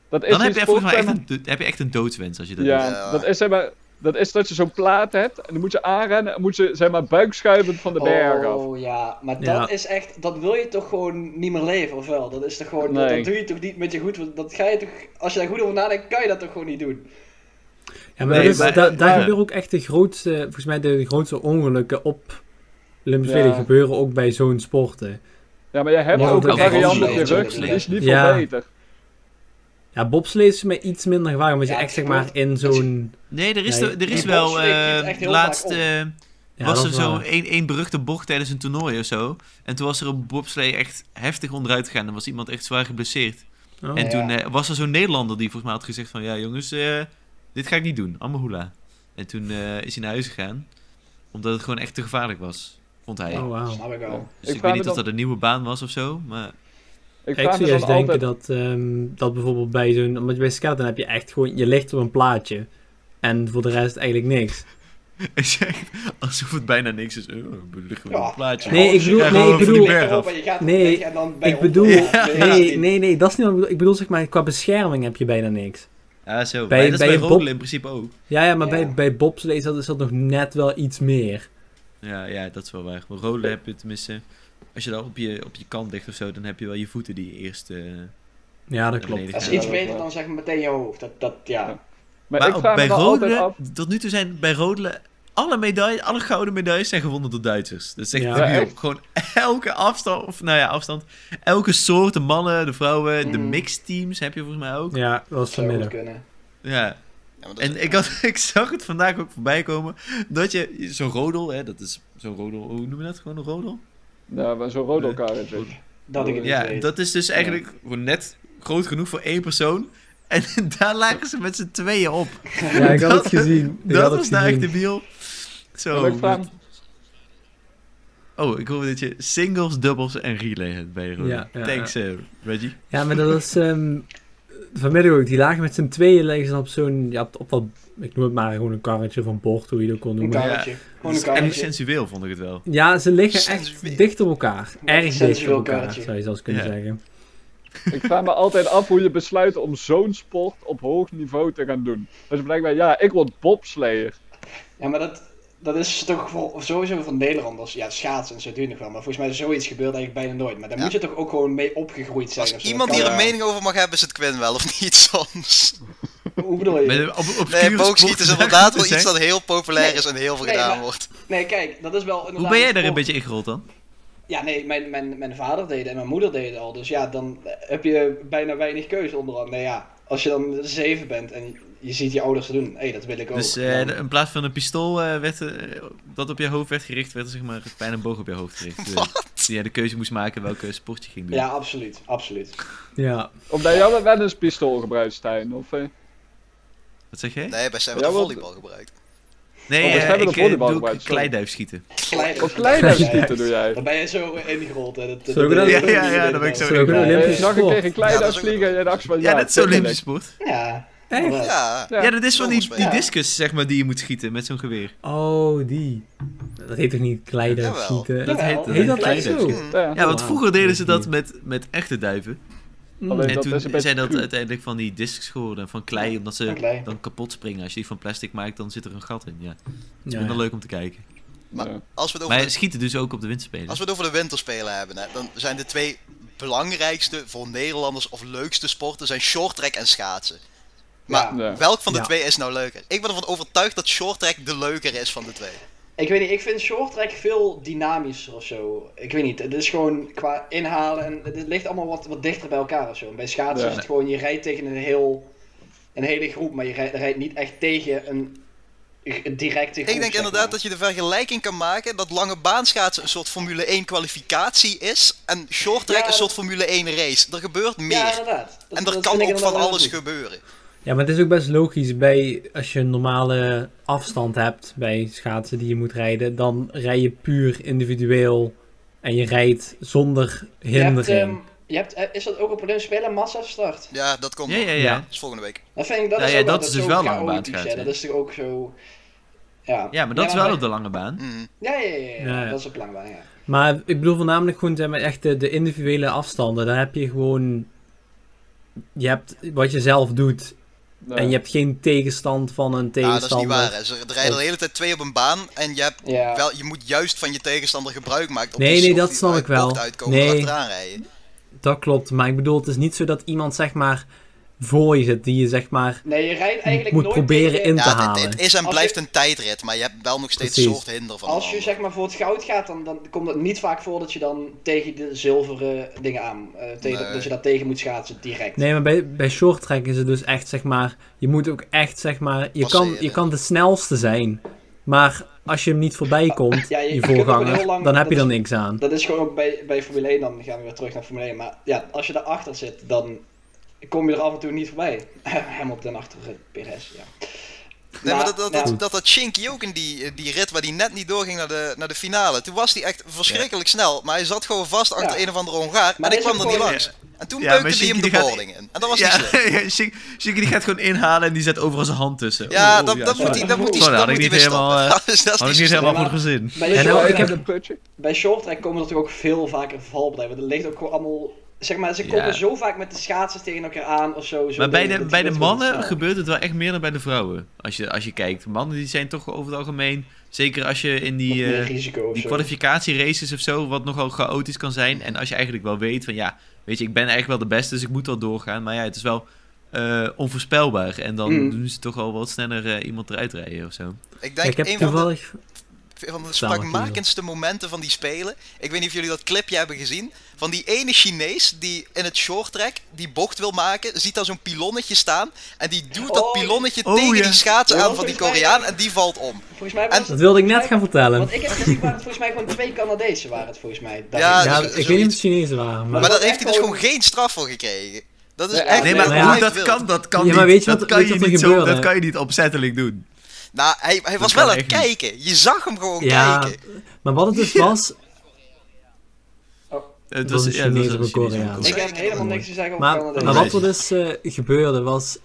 [SPEAKER 4] Dat is
[SPEAKER 5] Dan heb
[SPEAKER 4] die
[SPEAKER 5] je volgens mij echt
[SPEAKER 4] sportfan-
[SPEAKER 5] een, do- heb je echt een doodswens als je dat doet.
[SPEAKER 4] Ja,
[SPEAKER 3] Ja.
[SPEAKER 4] dat is zeg maar... Dat is dat je zo'n plaat hebt en dan moet je aanrennen en moet je zeg maar buikschuivend van de berg af.
[SPEAKER 6] Oh ja, maar dat
[SPEAKER 2] Ja.
[SPEAKER 6] is echt, dat wil je toch gewoon niet meer leven, of wel? Dat is toch gewoon, dat,
[SPEAKER 4] Nee.
[SPEAKER 6] dat doe je toch niet met je goed, want dat ga je toch, als je daar goed over nadenkt, kan je dat toch gewoon niet doen?
[SPEAKER 2] Ja, maar
[SPEAKER 5] Nee,
[SPEAKER 2] dat is-
[SPEAKER 5] maar-
[SPEAKER 2] da- daar
[SPEAKER 5] maar-
[SPEAKER 2] gebeuren ook echt de grootste, volgens mij de grootste ongelukken op Olympische
[SPEAKER 4] Ja.
[SPEAKER 2] Spelen gebeuren ook bij zo'n sporten.
[SPEAKER 4] Ja, maar je hebt
[SPEAKER 6] Ja,
[SPEAKER 4] ook
[SPEAKER 6] dat
[SPEAKER 4] een
[SPEAKER 6] kan
[SPEAKER 4] variant
[SPEAKER 6] ook
[SPEAKER 4] op je
[SPEAKER 6] niet.
[SPEAKER 4] rug, die is niet
[SPEAKER 2] Ja.
[SPEAKER 4] veel beter.
[SPEAKER 2] Ja, bobslees is mij iets minder gevaarlijk, omdat
[SPEAKER 6] Ja,
[SPEAKER 2] je echt zeg maar
[SPEAKER 6] het-
[SPEAKER 2] in zo'n...
[SPEAKER 5] Nee, er is,
[SPEAKER 2] Nee.
[SPEAKER 5] de- er is
[SPEAKER 6] Die
[SPEAKER 5] wel
[SPEAKER 6] bobslee klimt
[SPEAKER 5] laatste.
[SPEAKER 6] echt heel
[SPEAKER 5] laatst...
[SPEAKER 6] vaak op.
[SPEAKER 5] eh,
[SPEAKER 2] Ja,
[SPEAKER 5] was
[SPEAKER 2] dat
[SPEAKER 5] er
[SPEAKER 2] is
[SPEAKER 5] zo
[SPEAKER 2] waar.
[SPEAKER 5] één, één beruchte bocht tijdens een toernooi of zo. En toen was er een bobslee echt heftig onderuit gegaan. En was iemand echt zwaar geblesseerd.
[SPEAKER 2] Oh.
[SPEAKER 5] en
[SPEAKER 6] Ja.
[SPEAKER 5] toen eh, was er zo'n Nederlander die volgens mij had gezegd van... Ja jongens, eh, dit ga ik niet doen. Allemaal hoela. En toen eh, is hij naar huis gegaan. Omdat het gewoon echt te gevaarlijk was. Vond hij.
[SPEAKER 2] Oh, wauw.
[SPEAKER 6] Snap ik wel.
[SPEAKER 5] Dus
[SPEAKER 4] Ik vraag
[SPEAKER 5] ik, weet
[SPEAKER 4] me
[SPEAKER 5] niet of
[SPEAKER 4] dan-
[SPEAKER 5] dat een nieuwe baan was of zo. Maar
[SPEAKER 4] Ik
[SPEAKER 2] Kijk,
[SPEAKER 4] vraag me
[SPEAKER 2] serieus
[SPEAKER 4] dan
[SPEAKER 2] denken
[SPEAKER 4] altijd...
[SPEAKER 2] dat, ehm, dat bijvoorbeeld bij zo'n... Omdat je bij skeleton heb je echt gewoon... Je ligt op een plaatje. En voor de rest eigenlijk niks.
[SPEAKER 5] hij zegt alsof het bijna niks is. Oh, we liggen weer
[SPEAKER 6] Ja.
[SPEAKER 5] een plaatje.
[SPEAKER 2] Nee, ik bedoel... Nee,
[SPEAKER 5] Ja, gewoon
[SPEAKER 2] ik
[SPEAKER 5] van die
[SPEAKER 2] bedoel...
[SPEAKER 5] berg af.
[SPEAKER 6] Europa, je gaat
[SPEAKER 2] Nee,
[SPEAKER 6] weg en dan ben je
[SPEAKER 2] Ik bedoel...
[SPEAKER 6] onder. Nee, dat is
[SPEAKER 2] Nee,
[SPEAKER 6] niet.
[SPEAKER 2] nee, nee. Dat is niet wat ik bedoel. Ik bedoel zeg maar... Qua bescherming heb je bijna niks.
[SPEAKER 5] Ja, zo.
[SPEAKER 2] Bij-
[SPEAKER 5] Maar dat is
[SPEAKER 2] bij
[SPEAKER 5] bij
[SPEAKER 2] een bob-
[SPEAKER 5] rodelen in principe ook.
[SPEAKER 2] Ja, ja. Maar
[SPEAKER 6] Ja.
[SPEAKER 2] bij, bij bobslees is dat, is dat nog net wel iets meer.
[SPEAKER 5] Ja, ja, dat is wel waar. Maar rollen heb je tenminste. Als je daar op je, op je kant ligt of zo, dan heb je wel je voeten die je eerst. eh,
[SPEAKER 2] Ja, dat
[SPEAKER 5] Ja,
[SPEAKER 2] klopt.
[SPEAKER 5] nee,
[SPEAKER 6] Dat is
[SPEAKER 5] Ja,
[SPEAKER 6] iets beter dan zeg maar meteen je hoofd, dat, dat ja.
[SPEAKER 4] Maar,
[SPEAKER 5] Maar
[SPEAKER 4] ik
[SPEAKER 5] ook
[SPEAKER 4] vraag
[SPEAKER 5] bij
[SPEAKER 4] me dan altijd af...
[SPEAKER 5] rodelen, tot nu toe zijn bij rodelen alle medailles, alle gouden medailles zijn gewonnen door Duitsers. Dat is echt
[SPEAKER 2] Ja.
[SPEAKER 5] debiel.
[SPEAKER 4] Ja, echt.
[SPEAKER 5] gewoon elke afstand, of nou ja, afstand. Elke soort, de mannen, de vrouwen, de
[SPEAKER 6] Mhm.
[SPEAKER 4] Mm.
[SPEAKER 5] mixteams heb je volgens mij ook. Ja.
[SPEAKER 2] Ja, dat was
[SPEAKER 6] Zou goed
[SPEAKER 2] vanmiddag.
[SPEAKER 6] kunnen.
[SPEAKER 3] Ja, maar dat is-
[SPEAKER 5] En ik, had, ik zag het vandaag ook voorbij komen. Dat je zo'n rodel, hè, dat is zo'n rodel, hoe noem je dat? Gewoon een rodel?
[SPEAKER 4] Ja, Nou, maar zo'n rodelkarretje.
[SPEAKER 6] Dat ik het niet
[SPEAKER 5] Ja,
[SPEAKER 6] weet.
[SPEAKER 5] dat is dus eigenlijk gewoon net groot genoeg voor één persoon. En daar lagen ze met z'n tweeën op.
[SPEAKER 2] Ja, ik had het gezien. Ik
[SPEAKER 5] dat
[SPEAKER 2] had het
[SPEAKER 5] was nou echt
[SPEAKER 2] gezien.
[SPEAKER 5] debiel. Zo.
[SPEAKER 4] Maar ik vraag-
[SPEAKER 5] dat- Oh, ik hoor dat je singles, dubbels en relay hebt bij je rodel.
[SPEAKER 2] Ja, ja,
[SPEAKER 5] Thanks, eh, Reggie.
[SPEAKER 2] Ja, maar dat was ehm, vanmiddag ook. Die lagen met z'n tweeën liggen ze dan op zo'n, ja, op, op dat, ik noem het maar gewoon een karretje van bocht, hoe je dat kon
[SPEAKER 6] Een
[SPEAKER 2] noemen.
[SPEAKER 5] karretje.
[SPEAKER 6] kaartje. Gewoon een
[SPEAKER 5] Dus- en
[SPEAKER 6] kaartje.
[SPEAKER 5] sensueel vond ik het wel.
[SPEAKER 2] Ja, ze liggen
[SPEAKER 3] Sensueel.
[SPEAKER 2] echt dicht op elkaar. Erg dicht op
[SPEAKER 6] Sensueel
[SPEAKER 2] elkaar,
[SPEAKER 6] karretje.
[SPEAKER 2] zou je zelfs kunnen
[SPEAKER 5] Ja.
[SPEAKER 2] zeggen.
[SPEAKER 4] Ik vraag me altijd af hoe je besluit om zo'n sport op hoog niveau te gaan doen. Dus blijkbaar, ja, ik word bobslayer.
[SPEAKER 6] Ja, maar dat, dat is toch voor, sowieso van Nederlanders. Ja, schaatsen en zo duurt nog wel. Maar volgens mij is zoiets gebeurt eigenlijk bijna nooit. Maar daar
[SPEAKER 3] Ja.
[SPEAKER 6] moet je toch ook gewoon mee opgegroeid zijn.
[SPEAKER 3] als
[SPEAKER 6] of zo.
[SPEAKER 3] iemand
[SPEAKER 6] Dat kan
[SPEAKER 3] hier een
[SPEAKER 6] wel.
[SPEAKER 3] mening over mag hebben, is het Quinn wel of niet soms.
[SPEAKER 6] Hoe bedoel je?
[SPEAKER 5] Met, op, op
[SPEAKER 3] Nee, boogschieten is inderdaad wel iets dat heel populair is en heel veel
[SPEAKER 6] Nee,
[SPEAKER 3] gedaan
[SPEAKER 6] maar-
[SPEAKER 3] wordt.
[SPEAKER 6] Nee, kijk, dat is wel inderdaad...
[SPEAKER 5] Hoe ben jij
[SPEAKER 6] een
[SPEAKER 5] daar een
[SPEAKER 6] sport.
[SPEAKER 5] beetje ingerold dan?
[SPEAKER 6] Ja, nee, mijn, mijn, mijn vader deed het en mijn moeder deed het al. Dus ja, dan heb je bijna weinig keuze onderhand. Nee, ja, als je dan zeven bent en je ziet je ouders het doen, hé, dat wil ik ook.
[SPEAKER 5] Dus eh,
[SPEAKER 6] Dan-
[SPEAKER 5] de- in plaats van een pistool eh, werd, eh, dat op je hoofd werd gericht, werd er zeg maar bijna een boog op je hoofd gericht. Eh, die jij de keuze moest maken welke sport je ging doen.
[SPEAKER 6] ja, absoluut, absoluut.
[SPEAKER 2] Ja.
[SPEAKER 4] Omdat jij wel- wel eens pistool gebruikt, Stijn. Of, eh?
[SPEAKER 5] Wat zeg jij?
[SPEAKER 3] Nee, wij zijn
[SPEAKER 4] Ja,
[SPEAKER 3] wel
[SPEAKER 4] want-
[SPEAKER 3] volleybal gebruikt.
[SPEAKER 5] Nee,
[SPEAKER 4] Oh, we
[SPEAKER 5] eh,
[SPEAKER 4] hebben de
[SPEAKER 5] ik eh,
[SPEAKER 4] volleybal
[SPEAKER 5] doe
[SPEAKER 4] gebruikt,
[SPEAKER 5] ook
[SPEAKER 4] sorry.
[SPEAKER 5] kleiduif schieten.
[SPEAKER 6] Kleiner.
[SPEAKER 4] of kleine schieten doe jij.
[SPEAKER 6] Dan ben je zo eh, ingerold. Hè. Dat, dat,
[SPEAKER 2] Zullen we dat-
[SPEAKER 6] dat-
[SPEAKER 5] Ja, ja, ja, dat ben ik zo
[SPEAKER 2] Dat is ook een
[SPEAKER 5] Ja,
[SPEAKER 4] Eh,
[SPEAKER 2] Olympisch
[SPEAKER 4] Ik zag een keer
[SPEAKER 2] sport.
[SPEAKER 4] een kleine
[SPEAKER 3] Ja, dat is ook
[SPEAKER 4] vliegen en
[SPEAKER 3] een-
[SPEAKER 4] je dacht van
[SPEAKER 5] Ja,
[SPEAKER 4] ja,
[SPEAKER 5] dat is een
[SPEAKER 4] tuurlijk.
[SPEAKER 5] Olympisch sport.
[SPEAKER 6] Ja,
[SPEAKER 2] Echt?
[SPEAKER 6] wel.
[SPEAKER 3] Ja,
[SPEAKER 4] Ja.
[SPEAKER 5] Ja, dat is van die,
[SPEAKER 3] Volgens mij.
[SPEAKER 5] die discus zeg maar die je moet schieten met zo'n geweer.
[SPEAKER 2] Oh, die. Dat heet toch niet kleider
[SPEAKER 3] Jawel.
[SPEAKER 2] schieten?
[SPEAKER 6] Dat
[SPEAKER 5] heet-
[SPEAKER 2] Heet dat echt
[SPEAKER 5] kleiduif
[SPEAKER 2] zo? Ah.
[SPEAKER 4] Ja.
[SPEAKER 5] schieten. Ja, want
[SPEAKER 2] Wauw.
[SPEAKER 5] vroeger deden ze dat met, met echte duiven.
[SPEAKER 4] Alleen
[SPEAKER 5] En
[SPEAKER 4] dat
[SPEAKER 5] toen
[SPEAKER 4] is een beetje
[SPEAKER 5] zijn dat
[SPEAKER 4] cru.
[SPEAKER 5] uiteindelijk van die discs geworden, van klei, omdat
[SPEAKER 6] Van
[SPEAKER 5] ze
[SPEAKER 6] klei.
[SPEAKER 5] dan kapot springen. Als je die van plastic maakt, dan zit er een gat in. Ja, dat is
[SPEAKER 2] Ja.
[SPEAKER 5] minder leuk om te kijken.
[SPEAKER 3] Maar
[SPEAKER 4] Ja.
[SPEAKER 3] als we het over de
[SPEAKER 5] Maar schieten dus ook op de winterspelen.
[SPEAKER 3] Als we het over de winterspelen hebben, hè, dan zijn de twee belangrijkste voor Nederlanders of leukste sporten zijn shorttrack en schaatsen. Maar
[SPEAKER 4] Ja.
[SPEAKER 3] welk van de
[SPEAKER 2] Ja.
[SPEAKER 3] twee is nou leuker? Ik ben ervan overtuigd dat shorttrack de leuker is van de twee.
[SPEAKER 6] Ik weet niet, ik vind short track veel dynamischer of zo. Ik weet niet, het is gewoon qua inhalen en het ligt allemaal wat, wat dichter bij elkaar of zo. En bij schaatsen
[SPEAKER 4] Ja.
[SPEAKER 6] is het gewoon, je rijdt tegen een, heel, een hele groep, maar je rijdt, rijdt niet echt tegen een, een directe groep.
[SPEAKER 3] Ik denk inderdaad dat je de vergelijking kan maken dat lange baanschaatsen een soort Formule 1 kwalificatie is en shorttrack
[SPEAKER 6] Ja,
[SPEAKER 3] een
[SPEAKER 6] dat-
[SPEAKER 3] soort Formule 1 race. Er gebeurt meer.
[SPEAKER 6] Ja, inderdaad. Dat-
[SPEAKER 3] en er
[SPEAKER 6] dat
[SPEAKER 3] kan
[SPEAKER 6] vind ik
[SPEAKER 3] ook van
[SPEAKER 6] inderdaad
[SPEAKER 3] alles
[SPEAKER 6] heel goed.
[SPEAKER 3] gebeuren.
[SPEAKER 2] Ja, maar het is ook best logisch bij als je een normale afstand hebt bij schaatsen die je moet rijden, dan rij je puur individueel en je rijdt zonder
[SPEAKER 6] Je hebt,
[SPEAKER 2] hindering.
[SPEAKER 6] ehm, je hebt, eh, is dat ook op een spelen massastart?
[SPEAKER 3] Ja, dat komt
[SPEAKER 5] Ja,
[SPEAKER 3] nog.
[SPEAKER 5] ja,
[SPEAKER 2] Ja.
[SPEAKER 5] ja.
[SPEAKER 3] Dat is volgende week.
[SPEAKER 6] Dat vind ik, dat
[SPEAKER 5] Ja,
[SPEAKER 6] is
[SPEAKER 5] ja,
[SPEAKER 6] ook
[SPEAKER 5] dat
[SPEAKER 6] wel,
[SPEAKER 5] is
[SPEAKER 6] dat
[SPEAKER 5] dus wel
[SPEAKER 6] ook
[SPEAKER 5] lang
[SPEAKER 6] chaotisch,
[SPEAKER 5] baangaat,
[SPEAKER 6] hè.
[SPEAKER 5] hè.
[SPEAKER 6] Dat is toch ook zo... Ja,
[SPEAKER 5] Ja, maar dat is
[SPEAKER 6] maar-
[SPEAKER 5] wel op de lange baan.
[SPEAKER 4] Mm.
[SPEAKER 3] Mhm.
[SPEAKER 6] Ja, ja, ja, ja,
[SPEAKER 2] Ja, ja.
[SPEAKER 6] dat is op lange baan, ja.
[SPEAKER 2] Maar ik bedoel voornamelijk gewoon zeg maar, echt de, de individuele afstanden. Dan heb je gewoon. Je hebt wat je zelf doet.
[SPEAKER 4] Ja.
[SPEAKER 2] En je hebt geen tegenstand van een
[SPEAKER 3] Ja, Ah, dat is niet
[SPEAKER 2] tegenstander.
[SPEAKER 3] waar. hè. Ze rijden de hele tijd twee op een baan en je hebt
[SPEAKER 6] Ja.
[SPEAKER 3] Wel, je moet juist van je tegenstander gebruik maken. dus
[SPEAKER 2] Nee, nee, dat snap ik wel.
[SPEAKER 3] Uitkomen
[SPEAKER 2] Nee.
[SPEAKER 3] nee. Achteraan rijden.
[SPEAKER 2] Dat klopt. Maar ik bedoel, het is niet zo dat iemand zeg maar voor je zit die je zeg maar
[SPEAKER 6] Nee, je rijdt eigenlijk
[SPEAKER 2] moet
[SPEAKER 6] nooit
[SPEAKER 2] proberen
[SPEAKER 6] tegen-
[SPEAKER 2] in te
[SPEAKER 3] Ja, het,
[SPEAKER 2] halen.
[SPEAKER 3] het is en
[SPEAKER 6] Als
[SPEAKER 3] blijft
[SPEAKER 6] je-
[SPEAKER 3] een tijdrit, maar je hebt wel nog steeds
[SPEAKER 2] Precies.
[SPEAKER 3] soort hinder van
[SPEAKER 6] Als je
[SPEAKER 3] elkaar.
[SPEAKER 6] zeg maar voor het goud gaat, dan, dan komt het niet vaak voor dat je dan tegen de zilveren dingen aan. eh, tegen,
[SPEAKER 3] Nee.
[SPEAKER 6] Dat je daar tegen moet schaatsen direct.
[SPEAKER 2] Nee, maar bij, bij short track is het dus echt zeg maar. Je moet ook echt zeg maar. Je, kan,
[SPEAKER 3] Passeren.
[SPEAKER 2] je kan de snelste zijn. Maar als je hem niet voorbij komt,
[SPEAKER 6] Ja, je-
[SPEAKER 2] je,
[SPEAKER 6] je kunt ook heel
[SPEAKER 2] voorganger,
[SPEAKER 6] lang-
[SPEAKER 2] dan heb
[SPEAKER 6] dat
[SPEAKER 2] je er
[SPEAKER 6] is-
[SPEAKER 2] niks aan.
[SPEAKER 6] Dat is gewoon ook bij, bij Formule 1, dan gaan we weer terug naar Formule 1. Maar ja, als je daarachter zit, dan kom je er af en toe niet voorbij. Hamilton achter eh, Perez, ja.
[SPEAKER 3] Nee, maar dat dat,
[SPEAKER 6] ja.
[SPEAKER 3] dat, dat had Shinky ook in die, eh, die rit waar hij net niet doorging naar de, naar de finale. Toen was hij echt verschrikkelijk snel, maar hij zat gewoon vast achter
[SPEAKER 6] Ja.
[SPEAKER 3] een of andere Hongaar
[SPEAKER 6] Maar
[SPEAKER 3] en ik
[SPEAKER 6] hij is
[SPEAKER 3] kwam er
[SPEAKER 6] ook
[SPEAKER 3] niet
[SPEAKER 6] gewoon-
[SPEAKER 3] langs. En toen
[SPEAKER 5] Ja,
[SPEAKER 3] beukte
[SPEAKER 5] maar
[SPEAKER 3] hij hem
[SPEAKER 5] Shinky
[SPEAKER 3] de
[SPEAKER 5] die gaat-
[SPEAKER 3] boarding in. En dat was niet
[SPEAKER 5] Ja,
[SPEAKER 3] slim.
[SPEAKER 5] ja, Shik- Shiki die gaat gewoon inhalen en die zet overal zijn hand tussen.
[SPEAKER 3] Ja, dat,
[SPEAKER 5] Oh,
[SPEAKER 3] dat
[SPEAKER 5] sorry.
[SPEAKER 3] moet hij dat moet hij
[SPEAKER 5] Sorry,
[SPEAKER 3] dat
[SPEAKER 5] had ik
[SPEAKER 3] moet hij weer
[SPEAKER 5] niet helemaal,
[SPEAKER 3] stappen.
[SPEAKER 5] eh,
[SPEAKER 3] Dat is- dat is
[SPEAKER 5] Had ik
[SPEAKER 3] niet
[SPEAKER 5] niet
[SPEAKER 3] zo
[SPEAKER 5] helemaal
[SPEAKER 6] maar-
[SPEAKER 5] voor gezien.
[SPEAKER 6] Bij,
[SPEAKER 2] En
[SPEAKER 6] short,
[SPEAKER 2] nou, ik
[SPEAKER 6] track-
[SPEAKER 2] heb-
[SPEAKER 4] een putje.
[SPEAKER 6] bij short track komen er natuurlijk ook veel vaker valpartijen. Want er ligt ook gewoon allemaal... Zeg maar, ze komen
[SPEAKER 5] Ja.
[SPEAKER 6] zo vaak met de schaatsers tegen elkaar aan of zo. zo
[SPEAKER 5] Maar bij
[SPEAKER 6] dingen.
[SPEAKER 5] de,
[SPEAKER 6] Dat
[SPEAKER 5] bij de
[SPEAKER 6] gebeurt gewoon
[SPEAKER 5] mannen
[SPEAKER 6] snel.
[SPEAKER 5] gebeurt het wel echt meer dan bij de vrouwen. Als je, als je kijkt. Mannen die zijn toch over het algemeen. Zeker als je in die,
[SPEAKER 6] Meer
[SPEAKER 5] eh,
[SPEAKER 6] risico of
[SPEAKER 5] die
[SPEAKER 6] zo.
[SPEAKER 5] kwalificatieraces of zo. Wat nogal chaotisch kan zijn. En als je eigenlijk wel weet van ja. Weet je, ik ben eigenlijk wel de beste. Dus ik moet wel doorgaan. Maar ja, het is wel eh, onvoorspelbaar. En dan
[SPEAKER 6] Mm.
[SPEAKER 5] doen ze toch al wat sneller eh, iemand eruit rijden of zo.
[SPEAKER 3] Ik
[SPEAKER 2] ik
[SPEAKER 3] denk
[SPEAKER 2] heb
[SPEAKER 3] een van de
[SPEAKER 2] toevallig.
[SPEAKER 3] van de
[SPEAKER 2] Samen
[SPEAKER 3] spraakmakendste momenten van die spelen. Ik weet niet of jullie dat clipje hebben gezien. Van die ene Chinees die in het short track die bocht wil maken, ziet daar zo'n pilonnetje staan. En die duwt dat
[SPEAKER 6] Oh,
[SPEAKER 3] pilonnetje
[SPEAKER 5] oh,
[SPEAKER 3] tegen
[SPEAKER 5] ja.
[SPEAKER 3] die schaatsen
[SPEAKER 6] Ja,
[SPEAKER 3] aan
[SPEAKER 6] dat
[SPEAKER 3] van die
[SPEAKER 6] is mij-
[SPEAKER 3] Koreaan en die valt om.
[SPEAKER 6] Volgens mij was
[SPEAKER 3] En-
[SPEAKER 6] het-
[SPEAKER 2] Dat wilde ik net
[SPEAKER 6] volgens mij-
[SPEAKER 2] gaan vertellen.
[SPEAKER 6] Want ik heb gezien, waren het volgens mij gewoon twee Canadezen waren het volgens mij. Dat
[SPEAKER 3] Ja,
[SPEAKER 6] is-
[SPEAKER 2] Ja,
[SPEAKER 3] dat is
[SPEAKER 2] ik weet niet of
[SPEAKER 3] zoiets.
[SPEAKER 2] het Chinezen waren. Maar,
[SPEAKER 3] Maar
[SPEAKER 6] dat
[SPEAKER 3] daar
[SPEAKER 6] is
[SPEAKER 3] heeft hij dus
[SPEAKER 6] gewoon-
[SPEAKER 3] gewoon geen straf voor gekregen. Dat is
[SPEAKER 6] Nee,
[SPEAKER 3] echt
[SPEAKER 5] Nee,
[SPEAKER 3] heel
[SPEAKER 5] maar
[SPEAKER 2] ja.
[SPEAKER 5] hoe
[SPEAKER 3] wild.
[SPEAKER 5] dat kan, dat kan
[SPEAKER 2] Ja, maar
[SPEAKER 5] niet.
[SPEAKER 2] weet je wat-
[SPEAKER 5] dat, kan
[SPEAKER 2] weet je
[SPEAKER 5] je
[SPEAKER 2] wat er
[SPEAKER 5] niet zo,
[SPEAKER 2] gebeurde?
[SPEAKER 5] dat kan je niet opzettelijk doen.
[SPEAKER 3] Nou, hij, hij was
[SPEAKER 5] kan
[SPEAKER 3] wel aan het
[SPEAKER 5] echt niet.
[SPEAKER 3] kijken. Je zag hem gewoon
[SPEAKER 2] ja,
[SPEAKER 3] kijken.
[SPEAKER 2] maar wat het dus was,
[SPEAKER 5] Het
[SPEAKER 2] was een
[SPEAKER 5] het was
[SPEAKER 2] Chinees op een
[SPEAKER 5] Chinees op
[SPEAKER 2] Koreaan.
[SPEAKER 6] Ik heb
[SPEAKER 3] Zeker.
[SPEAKER 6] helemaal niks te zeggen over
[SPEAKER 2] Maar,
[SPEAKER 6] Canada.
[SPEAKER 2] maar wat er dus eh, gebeurde was.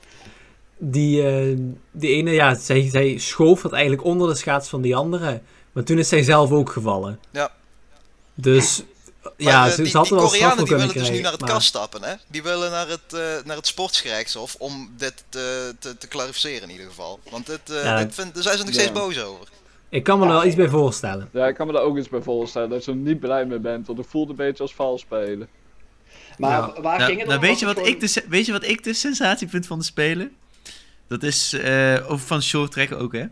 [SPEAKER 2] Die, eh, die ene, ja, zij, zij schoof het eigenlijk onder de schaats van die andere. Maar toen is zij zelf ook gevallen.
[SPEAKER 3] Ja.
[SPEAKER 2] Dus
[SPEAKER 3] Maar,
[SPEAKER 2] ja,
[SPEAKER 3] eh,
[SPEAKER 2] ze,
[SPEAKER 3] die,
[SPEAKER 2] ze had er
[SPEAKER 3] die
[SPEAKER 2] wel straf voor
[SPEAKER 3] Koreanen die
[SPEAKER 2] kunnen
[SPEAKER 3] willen dus nu
[SPEAKER 2] krijgen.
[SPEAKER 3] naar het
[SPEAKER 2] maar-
[SPEAKER 3] kast stappen, hè? Die willen naar het, eh, naar het sportgerechtshof om dit eh, te, te clarificeren in ieder geval. Want dit, eh,
[SPEAKER 2] Ja,
[SPEAKER 3] dit vind, daar zijn ze nog steeds
[SPEAKER 4] ja.
[SPEAKER 3] boos over.
[SPEAKER 2] Ik kan me er wel iets bij voorstellen.
[SPEAKER 4] Ja, ik kan me daar ook eens bij voorstellen dat je er niet blij mee bent, want het voelt een beetje als vals spelen.
[SPEAKER 6] Maar
[SPEAKER 2] Ja.
[SPEAKER 6] waar
[SPEAKER 5] Nou,
[SPEAKER 6] ging het
[SPEAKER 5] nou,
[SPEAKER 6] om?
[SPEAKER 5] weet, je
[SPEAKER 6] Was
[SPEAKER 5] wat
[SPEAKER 6] het
[SPEAKER 5] ik de, se- weet je wat ik dus de sensatie vind van de Spelen? Dat is, eh, of van short track ook hè,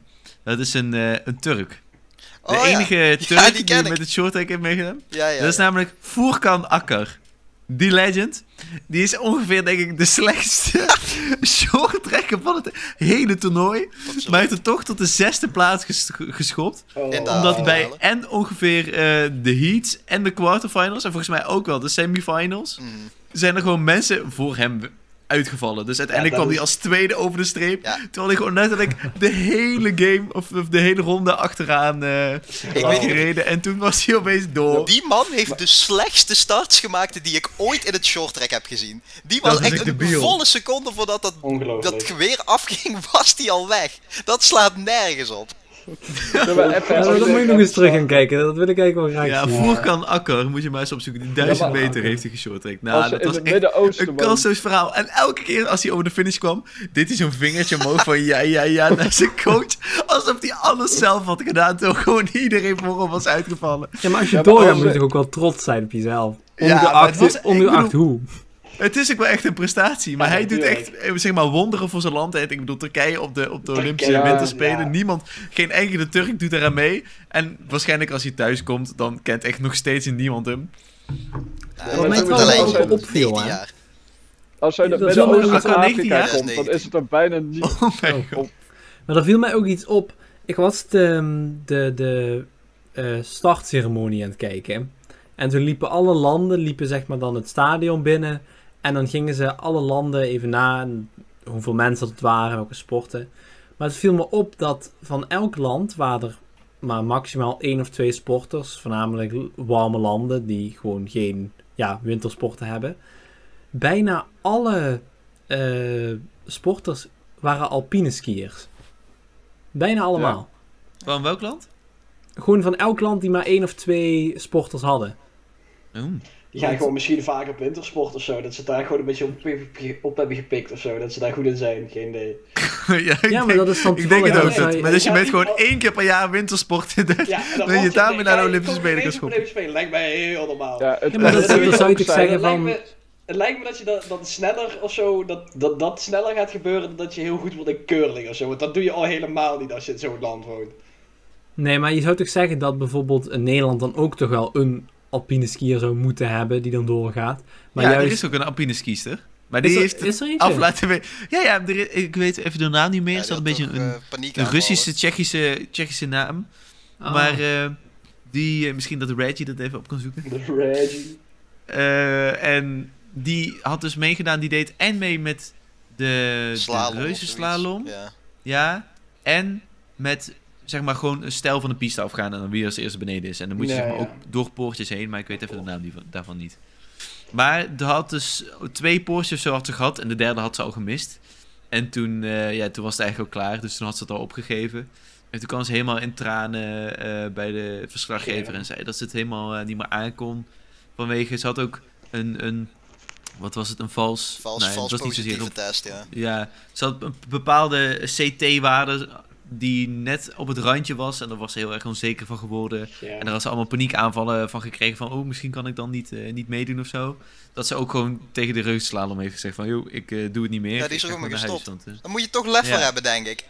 [SPEAKER 5] dat is een, eh, een Turk. De
[SPEAKER 3] Oh, ja.
[SPEAKER 5] enige
[SPEAKER 3] Ja,
[SPEAKER 5] Turk
[SPEAKER 3] die
[SPEAKER 5] die,
[SPEAKER 3] ken ik.
[SPEAKER 5] met het short track heeft meegedaan.
[SPEAKER 3] Ja, ja,
[SPEAKER 5] dat is
[SPEAKER 3] ja.
[SPEAKER 5] namelijk Voerkan Akker. Die legend, die is ongeveer denk ik de slechtste shorttrekker van het hele toernooi.
[SPEAKER 3] Potverdorie.
[SPEAKER 5] Maar hij heeft het toch tot de zesde plaats ges- geschopt.
[SPEAKER 6] Oh,
[SPEAKER 3] En dan-
[SPEAKER 5] Omdat
[SPEAKER 3] Oh.
[SPEAKER 5] bij en ongeveer eh, de heats en de quarterfinals en volgens mij ook wel de semifinals
[SPEAKER 3] Mhm.
[SPEAKER 5] zijn er gewoon mensen voor hem uitgevallen. Dus uiteindelijk
[SPEAKER 6] Ja, dat
[SPEAKER 5] kwam hij
[SPEAKER 6] is-
[SPEAKER 5] als tweede over de streep.
[SPEAKER 3] Ja.
[SPEAKER 5] Terwijl hij gewoon letterlijk de hele game of, of de hele ronde achteraan eh
[SPEAKER 3] Ik
[SPEAKER 5] had
[SPEAKER 3] weet niet,
[SPEAKER 5] gereden. En toen was hij opeens door.
[SPEAKER 3] Die man heeft de slechtste starts gemaakt die ik ooit in het short track heb gezien. Die was
[SPEAKER 5] Dat is
[SPEAKER 3] echt
[SPEAKER 5] echt
[SPEAKER 3] een
[SPEAKER 5] debiel.
[SPEAKER 3] volle seconde voordat dat,
[SPEAKER 6] Ongelooflijk.
[SPEAKER 3] dat geweer afging, was die al weg. Dat slaat nergens op.
[SPEAKER 4] Zullen we even-
[SPEAKER 2] Ja, dat moet je nog eens terug gaan kijken. Dat wil ik eigenlijk wel graag
[SPEAKER 5] Ja,
[SPEAKER 2] zien.
[SPEAKER 5] Voerkan Akker, moet je maar eens opzoeken. Die
[SPEAKER 4] Ja,
[SPEAKER 5] duizend
[SPEAKER 4] maar-
[SPEAKER 5] meter heeft hij geshorttrekt.
[SPEAKER 4] Als
[SPEAKER 5] Nou,
[SPEAKER 4] ze
[SPEAKER 5] dat
[SPEAKER 4] in
[SPEAKER 5] was
[SPEAKER 4] het
[SPEAKER 5] echt
[SPEAKER 4] Midden-Oosten
[SPEAKER 5] een
[SPEAKER 4] wonen.
[SPEAKER 5] kansloos verhaal. En elke keer als hij over de finish kwam, deed hij zo'n vingertje omhoog van ja, ja, ja naar zijn coach. Alsof hij alles zelf had gedaan, terwijl gewoon iedereen voor hem was uitgevallen.
[SPEAKER 2] Ja, maar als je
[SPEAKER 4] Ja, maar
[SPEAKER 2] doorgaat
[SPEAKER 4] als
[SPEAKER 2] moet je
[SPEAKER 4] we-
[SPEAKER 2] toch ook wel trots zijn op jezelf.
[SPEAKER 5] Ja, maar het
[SPEAKER 2] Ongeacht,
[SPEAKER 5] was- ik
[SPEAKER 2] ongeacht
[SPEAKER 5] bedoel-
[SPEAKER 2] hoe.
[SPEAKER 5] Het is ook wel echt een prestatie, maar
[SPEAKER 6] Ja,
[SPEAKER 5] hij doet
[SPEAKER 6] natuurlijk.
[SPEAKER 5] echt eh, zeg maar, wonderen voor zijn land. Ik bedoel, Turkije op de, op de Olympische
[SPEAKER 4] ja,
[SPEAKER 5] Winterspelen.
[SPEAKER 6] ja.
[SPEAKER 5] Niemand, geen enkele Turk doet eraan mee. En waarschijnlijk als hij thuis komt, dan kent echt nog steeds niemand hem.
[SPEAKER 3] Ja,
[SPEAKER 4] maar
[SPEAKER 3] dat
[SPEAKER 4] het
[SPEAKER 3] moet
[SPEAKER 4] was
[SPEAKER 3] alleen
[SPEAKER 4] wel
[SPEAKER 3] op
[SPEAKER 2] opviel,
[SPEAKER 3] 19
[SPEAKER 2] hè?
[SPEAKER 3] jaar.
[SPEAKER 4] Als zij naar
[SPEAKER 2] Dat is wel
[SPEAKER 4] Midden-Oosten of
[SPEAKER 5] makkelijk.
[SPEAKER 4] Afrika
[SPEAKER 5] Ja,
[SPEAKER 3] dat is
[SPEAKER 4] komt, dan
[SPEAKER 3] 19.
[SPEAKER 4] is het er bijna niet.
[SPEAKER 5] Oh mijn god.
[SPEAKER 4] op-
[SPEAKER 2] Maar er viel mij ook iets op. Ik was de, ehm, de, de eh, startceremonie aan het kijken. En toen liepen alle landen, liepen zeg maar dan het stadion binnen. En dan gingen ze alle landen even na. en Hoeveel mensen dat waren, welke sporten. Maar het viel me op dat van elk land waren er maar maximaal één of twee sporters. Voornamelijk warme landen die gewoon geen ja, wintersporten hebben. Bijna alle eh, sporters waren alpine skiers. Bijna allemaal.
[SPEAKER 5] Van welk land?
[SPEAKER 2] Gewoon van elk land die maar één of twee sporters hadden.
[SPEAKER 5] Oeh.
[SPEAKER 6] Die gaan gewoon misschien vaak op wintersport of zo. Dat ze het daar gewoon een beetje op, op hebben gepikt of zo. Dat ze daar goed in zijn. Geen idee.
[SPEAKER 5] ja, ik
[SPEAKER 2] Ja, maar
[SPEAKER 5] denk-
[SPEAKER 2] dat is dan
[SPEAKER 5] Ik denk het ook,
[SPEAKER 2] toevallig.
[SPEAKER 5] dat,
[SPEAKER 2] Ja,
[SPEAKER 5] maar als je
[SPEAKER 6] ja,
[SPEAKER 5] met
[SPEAKER 6] ik-
[SPEAKER 5] gewoon één keer per jaar wintersport in de-
[SPEAKER 6] Ja, en
[SPEAKER 5] Dan je
[SPEAKER 6] was-
[SPEAKER 5] daarmee
[SPEAKER 6] nee,
[SPEAKER 5] naar de
[SPEAKER 6] ja,
[SPEAKER 5] Olympische
[SPEAKER 6] ik kom
[SPEAKER 5] Spelen
[SPEAKER 6] ineens
[SPEAKER 5] kan
[SPEAKER 6] op de Olympische Spelen lijkt mij heel normaal.
[SPEAKER 4] Ja, het,
[SPEAKER 2] Ja, maar
[SPEAKER 4] het
[SPEAKER 2] dat- dat
[SPEAKER 4] moet
[SPEAKER 2] zou je
[SPEAKER 4] ook
[SPEAKER 2] toch
[SPEAKER 4] zijn-
[SPEAKER 2] zeggen?
[SPEAKER 6] Het lijkt,
[SPEAKER 2] van-
[SPEAKER 6] me, het lijkt me dat je dat, dat sneller of zo, dat, dat dat sneller gaat gebeuren dan dat je heel goed wordt in curling of zo. Want dat doe je al helemaal niet als je in zo'n land woont.
[SPEAKER 2] Nee, maar je zou toch zeggen dat bijvoorbeeld in Nederland dan ook toch wel een alpine skier zou moeten hebben die dan doorgaat. Maar
[SPEAKER 5] Maar ja, er
[SPEAKER 2] juist...
[SPEAKER 5] is ook een alpine skiester. Maar
[SPEAKER 2] Is
[SPEAKER 5] die
[SPEAKER 2] er-
[SPEAKER 5] heeft het
[SPEAKER 2] is er eentje?
[SPEAKER 5] af laten weten. Ja, ja, er is- ik weet even de naam niet meer. Er
[SPEAKER 3] Ja,
[SPEAKER 5] staat een
[SPEAKER 3] die
[SPEAKER 5] beetje
[SPEAKER 3] had
[SPEAKER 5] een,
[SPEAKER 3] toch,
[SPEAKER 5] een
[SPEAKER 3] eh, paniek
[SPEAKER 5] Russische, Tsjechische, Tsjechische naam.
[SPEAKER 2] Ah.
[SPEAKER 5] Maar eh, die, eh, misschien dat Reggie dat even op kan zoeken.
[SPEAKER 6] De Reggie.
[SPEAKER 5] Eh, en die had dus meegedaan, die deed en mee met de,
[SPEAKER 3] aanvallen.
[SPEAKER 5] de
[SPEAKER 3] Slalom of
[SPEAKER 5] reuzenslalom.
[SPEAKER 3] zoiets. Ja.
[SPEAKER 5] Ja, en met zeg maar gewoon een stijl van de piste afgaan en dan wie als eerste beneden is. En dan moet je
[SPEAKER 6] Ja,
[SPEAKER 5] zeg maar
[SPEAKER 6] ja.
[SPEAKER 5] ook door poortjes heen, maar ik weet even de naam die- daarvan niet. Maar er had dus twee poortjes zo had ze gehad en de derde had ze al gemist. En toen, eh, ja, toen was het eigenlijk al klaar, dus toen had ze het al opgegeven. En toen kwam ze helemaal in tranen eh, bij de verslaggever en zei dat ze het helemaal eh, niet meer aankon. Vanwege, ze had ook een, een wat was het, een vals...
[SPEAKER 3] Vals,
[SPEAKER 5] nee, het
[SPEAKER 3] vals
[SPEAKER 5] was niet zozeer
[SPEAKER 3] positieve
[SPEAKER 5] een
[SPEAKER 3] test, ja.
[SPEAKER 5] ja, ze had een bepaalde CT-waarde die net op het randje was. En daar was ze heel erg onzeker van geworden.
[SPEAKER 6] Ja.
[SPEAKER 5] En daar had ze allemaal paniekaanvallen van gekregen van... oh, misschien kan ik dan niet, eh, niet meedoen of zo. Dat ze ook gewoon tegen de reusslalom heeft gezegd van... joh, ik eh, doe het niet meer.
[SPEAKER 3] Ja, die is er
[SPEAKER 5] Ik ga
[SPEAKER 3] ook mee
[SPEAKER 5] gewoon naar
[SPEAKER 3] gestopt.
[SPEAKER 5] huis, want, eh,
[SPEAKER 3] Dan moet je toch lef
[SPEAKER 5] Ja.
[SPEAKER 3] voor hebben, denk ik.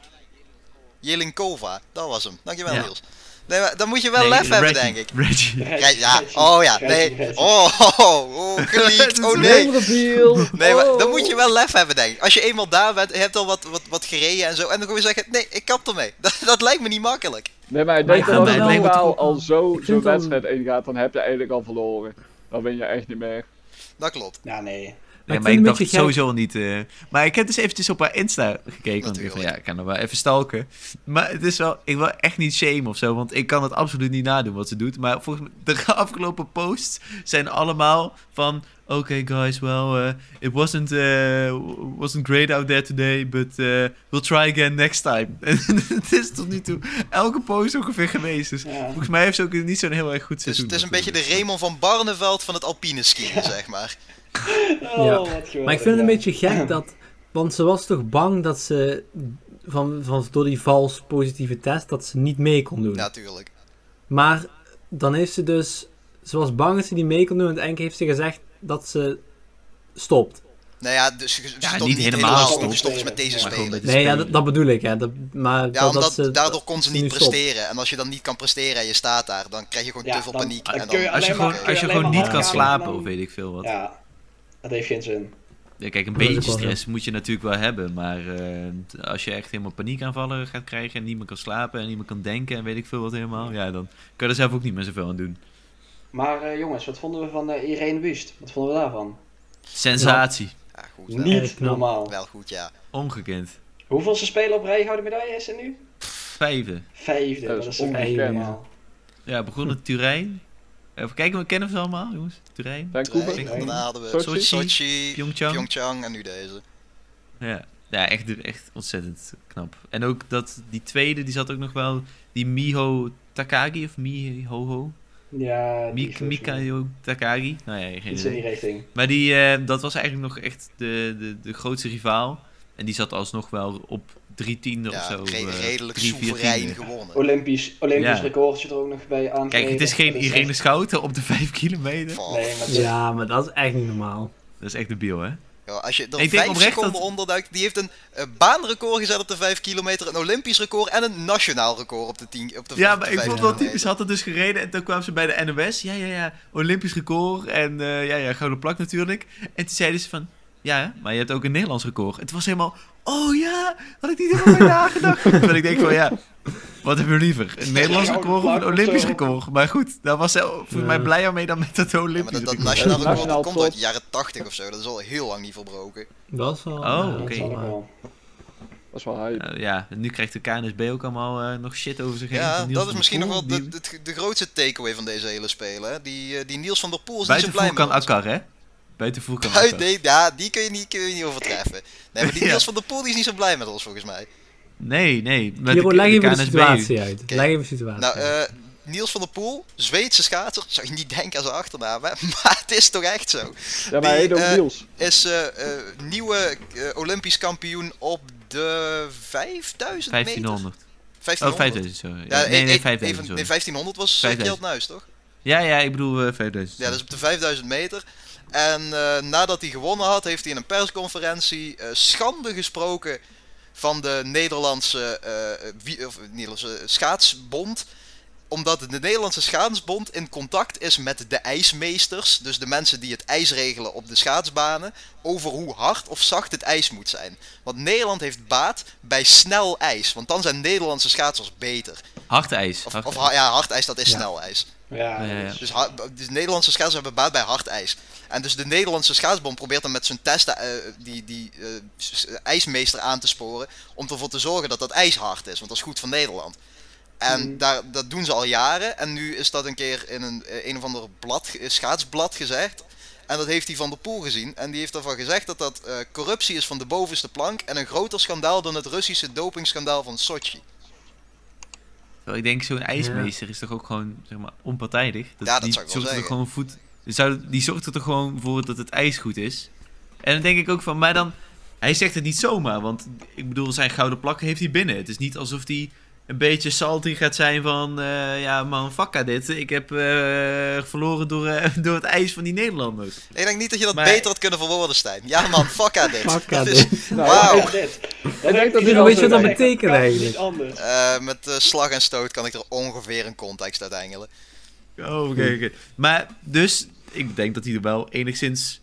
[SPEAKER 3] Jelinkova, dat was hem. Dankjewel,
[SPEAKER 5] Ja.
[SPEAKER 3] Niels. Nee, maar dan moet je
[SPEAKER 5] eh,
[SPEAKER 3] wel
[SPEAKER 5] nee,
[SPEAKER 3] lef hebben,
[SPEAKER 5] Reggie,
[SPEAKER 3] denk ik.
[SPEAKER 5] Reggie.
[SPEAKER 6] Reggie,
[SPEAKER 3] Kijk, ja.
[SPEAKER 6] Reggie,
[SPEAKER 3] Oh ja,
[SPEAKER 6] Reggie,
[SPEAKER 3] nee.
[SPEAKER 6] Reggie.
[SPEAKER 3] Oh, oh, oh geleakt. Oh nee. Nee, maar dan
[SPEAKER 5] Oh.
[SPEAKER 3] moet je wel lef hebben, denk ik. Als je eenmaal daar bent, je hebt al wat, wat, wat gereden en zo. En dan gewoon zeggen, nee, ik kap ermee. Dat, dat lijkt me niet makkelijk.
[SPEAKER 4] Nee, maar ik
[SPEAKER 2] Maar
[SPEAKER 4] denk
[SPEAKER 5] ja,
[SPEAKER 4] dat als
[SPEAKER 5] maar
[SPEAKER 4] je
[SPEAKER 5] het lijkt me
[SPEAKER 4] normaal
[SPEAKER 2] toch ook
[SPEAKER 4] al
[SPEAKER 2] wel-
[SPEAKER 4] zo-
[SPEAKER 2] Ik
[SPEAKER 4] zo'n
[SPEAKER 2] vind dan-
[SPEAKER 4] wedstrijd ingaat, dan heb je eigenlijk al verloren. Dan win je echt niet meer.
[SPEAKER 3] Dat klopt.
[SPEAKER 6] Ja, nee.
[SPEAKER 5] Nee,
[SPEAKER 2] ik
[SPEAKER 5] maar
[SPEAKER 2] vind
[SPEAKER 5] ik
[SPEAKER 2] het een
[SPEAKER 5] dacht
[SPEAKER 2] beetje
[SPEAKER 5] het sowieso al niet. eh, maar ik heb dus eventjes op haar Insta gekeken. Want ik dacht van,
[SPEAKER 3] Natuurlijk.
[SPEAKER 5] ja, ik kan er wel even stalken. Maar het is wel, ik wil echt niet shame of zo. Want ik kan het absoluut niet nadoen wat ze doet. Maar volgens mij, de afgelopen posts zijn allemaal van... Oké guys, well, eh, it wasn't, eh, wasn't great out there today, but eh, we'll try again next time. En het is tot nu toe elke post ongeveer geweest. Dus
[SPEAKER 6] Ja.
[SPEAKER 5] volgens mij heeft ze ook niet zo'n heel erg goed
[SPEAKER 3] Dus
[SPEAKER 5] seizoen.
[SPEAKER 3] het is een beetje de
[SPEAKER 5] natuurlijk.
[SPEAKER 3] Raymond van Barneveld van het alpine skiën, zeg maar.
[SPEAKER 6] Oh,
[SPEAKER 2] Ja.
[SPEAKER 6] wat geweldig,
[SPEAKER 2] Maar ik vind het
[SPEAKER 6] ja.
[SPEAKER 2] een beetje gek dat. Want ze was toch bang dat ze. Van, van, door die vals positieve test. dat ze niet mee kon doen.
[SPEAKER 3] Natuurlijk.
[SPEAKER 2] Maar dan heeft ze dus. Ze was bang dat ze niet mee kon doen. En uiteindelijk heeft ze gezegd dat ze. stopt.
[SPEAKER 3] Nou ja, dus ze
[SPEAKER 5] Ja,
[SPEAKER 3] stopt
[SPEAKER 5] niet helemaal
[SPEAKER 3] in
[SPEAKER 5] stopt.
[SPEAKER 3] de stopt met deze
[SPEAKER 6] Maar
[SPEAKER 5] gewoon
[SPEAKER 3] spelen.
[SPEAKER 5] dat-
[SPEAKER 2] Nee, ja,
[SPEAKER 5] spelen.
[SPEAKER 2] dat, dat bedoel ik. Hè. Dat, maar
[SPEAKER 3] Ja,
[SPEAKER 2] dat, dat
[SPEAKER 3] omdat
[SPEAKER 2] ze-
[SPEAKER 3] daardoor kon ze
[SPEAKER 2] nu
[SPEAKER 3] niet
[SPEAKER 2] stopt.
[SPEAKER 3] presteren. En als je dan niet kan presteren en je staat daar, dan krijg je gewoon
[SPEAKER 6] Ja,
[SPEAKER 3] te veel
[SPEAKER 6] dan-
[SPEAKER 3] paniek.
[SPEAKER 6] dan
[SPEAKER 3] en
[SPEAKER 6] kun je
[SPEAKER 3] dan,
[SPEAKER 5] Als je
[SPEAKER 6] Alleen maar-
[SPEAKER 5] gewoon, als je
[SPEAKER 6] alleen
[SPEAKER 5] gewoon
[SPEAKER 6] maar
[SPEAKER 5] niet kan
[SPEAKER 6] handkamer
[SPEAKER 5] slapen
[SPEAKER 6] dan-
[SPEAKER 5] of weet ik veel wat.
[SPEAKER 6] Ja, dat heeft geen zin.
[SPEAKER 5] Ja, kijk, een
[SPEAKER 2] Dat is ook
[SPEAKER 5] beetje
[SPEAKER 2] wel zo.
[SPEAKER 5] stress moet je natuurlijk wel hebben. Maar eh, t- als je echt helemaal paniekaanvallen gaat krijgen en niet meer kan slapen en niet meer kan denken en weet ik veel wat helemaal. Ja, dan kan je er zelf ook niet meer zoveel aan doen.
[SPEAKER 6] Maar eh, jongens, wat vonden we van eh, Irene Wust? Wat vonden we daarvan?
[SPEAKER 5] Sensatie.
[SPEAKER 3] ja, goed, wel,
[SPEAKER 6] Niet
[SPEAKER 2] Erg knap.
[SPEAKER 6] normaal.
[SPEAKER 3] wel goed, ja.
[SPEAKER 5] Ongekend.
[SPEAKER 6] Hoeveel ze spelen op rij gouden medaille is er nu?
[SPEAKER 5] Vijfde.
[SPEAKER 6] Vijfde.
[SPEAKER 4] Dat
[SPEAKER 6] Dat
[SPEAKER 4] is
[SPEAKER 6] is, toch niet
[SPEAKER 2] ongekend.
[SPEAKER 6] normaal.
[SPEAKER 5] Ja, begonnen Turijn. Eh, Even kijken, we kennen ze allemaal, jongens. Turijn.
[SPEAKER 4] Vancouver?
[SPEAKER 3] Nee, daarna Eh, hadden we
[SPEAKER 4] Sochi.
[SPEAKER 3] Sochi, Sochi
[SPEAKER 5] Pyeongchang.
[SPEAKER 3] Pyeongchang en nu deze.
[SPEAKER 5] Ja, ja echt, echt ontzettend knap. En ook dat die tweede, die zat ook nog wel. Die Miho Takagi of Mihoho?
[SPEAKER 6] Ja, die
[SPEAKER 5] Mik
[SPEAKER 6] volgens mij.
[SPEAKER 5] Mikayo Takagi? Nou ja, geen
[SPEAKER 6] Iets in die
[SPEAKER 5] idee.
[SPEAKER 6] richting.
[SPEAKER 5] Maar die, eh, dat was eigenlijk nog echt de, de, de grootste rivaal. En die zat alsnog wel op drie tiende of
[SPEAKER 3] Ja,
[SPEAKER 5] zo.
[SPEAKER 3] re-
[SPEAKER 5] eh,
[SPEAKER 3] redelijk
[SPEAKER 5] drie, vier
[SPEAKER 3] soeverein
[SPEAKER 5] tiende.
[SPEAKER 3] gewonnen.
[SPEAKER 6] Olympisch, Olympisch
[SPEAKER 5] Ja.
[SPEAKER 6] recordje er ook nog bij aan.
[SPEAKER 5] Kijk, het is geen
[SPEAKER 6] Dat echt-
[SPEAKER 5] Irene Schouten op de vijf kilometer.
[SPEAKER 3] Fuck.
[SPEAKER 6] Nee, maar het is-
[SPEAKER 2] Ja, maar dat is echt niet normaal.
[SPEAKER 5] Dat is echt de debiel, hè?
[SPEAKER 3] Ja, als je er
[SPEAKER 5] Ik denk
[SPEAKER 3] 5
[SPEAKER 5] oprecht
[SPEAKER 3] seconden
[SPEAKER 5] dat-
[SPEAKER 3] onderduikt, die heeft een eh, baanrecord gezet op de 5 kilometer, een Olympisch record en een nationaal record op de 10 op de
[SPEAKER 5] Ja,
[SPEAKER 3] op de
[SPEAKER 5] maar ik
[SPEAKER 3] vijf
[SPEAKER 5] vond wel
[SPEAKER 3] kilometer.
[SPEAKER 5] typisch. Ze had het dus gereden en toen kwamen ze bij de NOS. Ja, ja, ja. Olympisch record en eh, ja, ja, gouden plak natuurlijk. En toen zeiden ze van, ja, maar je hebt ook een Nederlands record. En het was helemaal, oh ja, had ik niet helemaal bij nagedacht. Terwijl ik denk van, ja, wat hebben we liever? Een Nederlands
[SPEAKER 6] gouden
[SPEAKER 5] record of een
[SPEAKER 6] plak of zo.
[SPEAKER 5] Olympisch record? Maar goed, daar was ze voor
[SPEAKER 2] Ja.
[SPEAKER 5] mij blijer mee dan met dat
[SPEAKER 3] Ja, maar
[SPEAKER 5] Olympisch
[SPEAKER 3] dat, dat
[SPEAKER 5] record.
[SPEAKER 3] nationaal
[SPEAKER 4] Nationaal
[SPEAKER 3] record dat komt
[SPEAKER 4] top.
[SPEAKER 3] uit de jaren 80 of zo, dat is al heel lang niet verbroken.
[SPEAKER 2] Dat is wel...
[SPEAKER 5] Oh,
[SPEAKER 2] ja,
[SPEAKER 5] oké.
[SPEAKER 2] dat is
[SPEAKER 6] zal
[SPEAKER 2] wel
[SPEAKER 6] ik
[SPEAKER 2] waar.
[SPEAKER 6] wel.
[SPEAKER 4] Dat is wel hype.
[SPEAKER 5] Nou ja, nu krijgt de KNSB ook allemaal eh, nog shit over zich heen.
[SPEAKER 3] Ja,
[SPEAKER 5] van Niels
[SPEAKER 3] dat is
[SPEAKER 5] van der
[SPEAKER 3] misschien nog
[SPEAKER 5] Poel,
[SPEAKER 3] wel de,
[SPEAKER 5] die
[SPEAKER 3] de, de grootste takeaway van deze hele spelen. hè. Die, eh, die Niels van der Poel is niet zo
[SPEAKER 5] Buiten
[SPEAKER 3] blij
[SPEAKER 5] Vulkan
[SPEAKER 3] mee.
[SPEAKER 5] Akkar, hè? Buiten Vulkan
[SPEAKER 3] Uit,
[SPEAKER 5] Akkar.
[SPEAKER 3] nee, ja, die kun je niet, kun je niet overtreffen. Nee, maar die
[SPEAKER 5] Ja.
[SPEAKER 3] Niels van der Poel die is niet zo blij met ons volgens mij.
[SPEAKER 5] Nee, nee. Met
[SPEAKER 2] Jeroen, leg even de
[SPEAKER 5] KNSB.
[SPEAKER 2] situatie uit.
[SPEAKER 3] Oké.
[SPEAKER 2] Leg even de situatie
[SPEAKER 3] Nou,
[SPEAKER 2] uit.
[SPEAKER 3] eh, Niels van der Poel, Zweedse schaatser, zou je niet denken aan zijn achternaam, hè? maar het is toch echt zo.
[SPEAKER 4] Ja, maar hij
[SPEAKER 3] die,
[SPEAKER 4] heet ook
[SPEAKER 3] eh,
[SPEAKER 4] Niels.
[SPEAKER 3] Is eh, eh, nieuwe eh, Olympisch kampioen op de 5000 meter?
[SPEAKER 5] 1500.
[SPEAKER 3] 1500.
[SPEAKER 5] Oh, 5000, sorry.
[SPEAKER 3] Ja,
[SPEAKER 5] nee,
[SPEAKER 3] eh,
[SPEAKER 5] nee,
[SPEAKER 3] eh,
[SPEAKER 5] 5000,
[SPEAKER 3] even- nee,
[SPEAKER 5] sorry.
[SPEAKER 3] 1500 was
[SPEAKER 5] 5000.
[SPEAKER 3] Kjeld Nuis, toch?
[SPEAKER 5] Ja, ja, ik bedoel eh, 5000.
[SPEAKER 3] Ja, dat is op de 5000 meter. En eh, nadat hij gewonnen had, heeft hij in een persconferentie eh, schande gesproken van de Nederlandse, eh, wie- of, Nederlandse schaatsbond. Omdat de Nederlandse schaatsbond in contact is met de ijsmeesters. Dus de mensen die het ijs regelen op de schaatsbanen. Over hoe hard of zacht het ijs moet zijn. Want Nederland heeft baat bij snel ijs. Want dan zijn Nederlandse schaatsers beter.
[SPEAKER 5] Hard ijs.
[SPEAKER 3] dus- Of,
[SPEAKER 5] hard
[SPEAKER 3] of
[SPEAKER 5] ijs.
[SPEAKER 3] ha- ja, hard ijs, dat is
[SPEAKER 2] Ja.
[SPEAKER 3] snel ijs.
[SPEAKER 6] Ja,
[SPEAKER 5] Ja, ja,
[SPEAKER 6] dat
[SPEAKER 5] ja.
[SPEAKER 6] is-
[SPEAKER 3] Dus, ha- dus Nederlandse schaatsers hebben baat bij hard ijs. En dus de Nederlandse schaatsbond probeert dan met zijn testen eh, die, die eh, s- s- ijsmeester aan te sporen. Om ervoor te zorgen dat dat ijs hard is, want dat is goed voor Nederland. En
[SPEAKER 2] Hmm.
[SPEAKER 6] Mhm.
[SPEAKER 3] daar, dat doen ze al jaren. En nu is dat een keer in een, eh, een of ander blad, ge- schaatsblad gezegd. En dat heeft hij Van der Poel gezien. En die heeft daarvan gezegd dat dat eh, corruptie is van de bovenste plank. En een groter schandaal dan het Russische dopingschandaal van Sochi.
[SPEAKER 5] Terwijl ik denk, zo'n ijsmeester is toch ook gewoon zeg maar, onpartijdig?
[SPEAKER 3] Ja, dat
[SPEAKER 5] die
[SPEAKER 3] zou ik wel
[SPEAKER 5] zorgt er
[SPEAKER 3] zeggen.
[SPEAKER 5] gewoon voet. die zou- die zorgt er toch gewoon voor dat het ijs goed is. En dan denk ik ook van, maar dan. Hij zegt het niet zomaar, want ik bedoel, zijn gouden plak heeft hij binnen. Het is niet alsof hij een beetje salty gaat zijn van. eh, ja, man, fakka dit. Ik heb eh, verloren door, eh, door het ijs van die Nederlanders.
[SPEAKER 3] Ik denk niet dat je dat
[SPEAKER 5] Maar-
[SPEAKER 3] beter had kunnen verwoorden, Stijn. Ja man, fuck aan dit.
[SPEAKER 2] Fuck
[SPEAKER 3] Dat
[SPEAKER 2] aan
[SPEAKER 3] is-
[SPEAKER 2] dit.
[SPEAKER 4] Nou,
[SPEAKER 3] Wauw.
[SPEAKER 6] Kijk dit. Dat
[SPEAKER 4] denk dat
[SPEAKER 6] is
[SPEAKER 4] dit
[SPEAKER 6] altijd
[SPEAKER 4] weet je wat dat
[SPEAKER 6] echt
[SPEAKER 2] betekent
[SPEAKER 6] een kans,
[SPEAKER 2] eigenlijk?
[SPEAKER 6] niet anders.
[SPEAKER 3] Eh, met eh, slag en stoot kan ik er ongeveer een context uit engelen.
[SPEAKER 5] Oh, oké, oké. Maar dus, ik denk dat hij er wel enigszins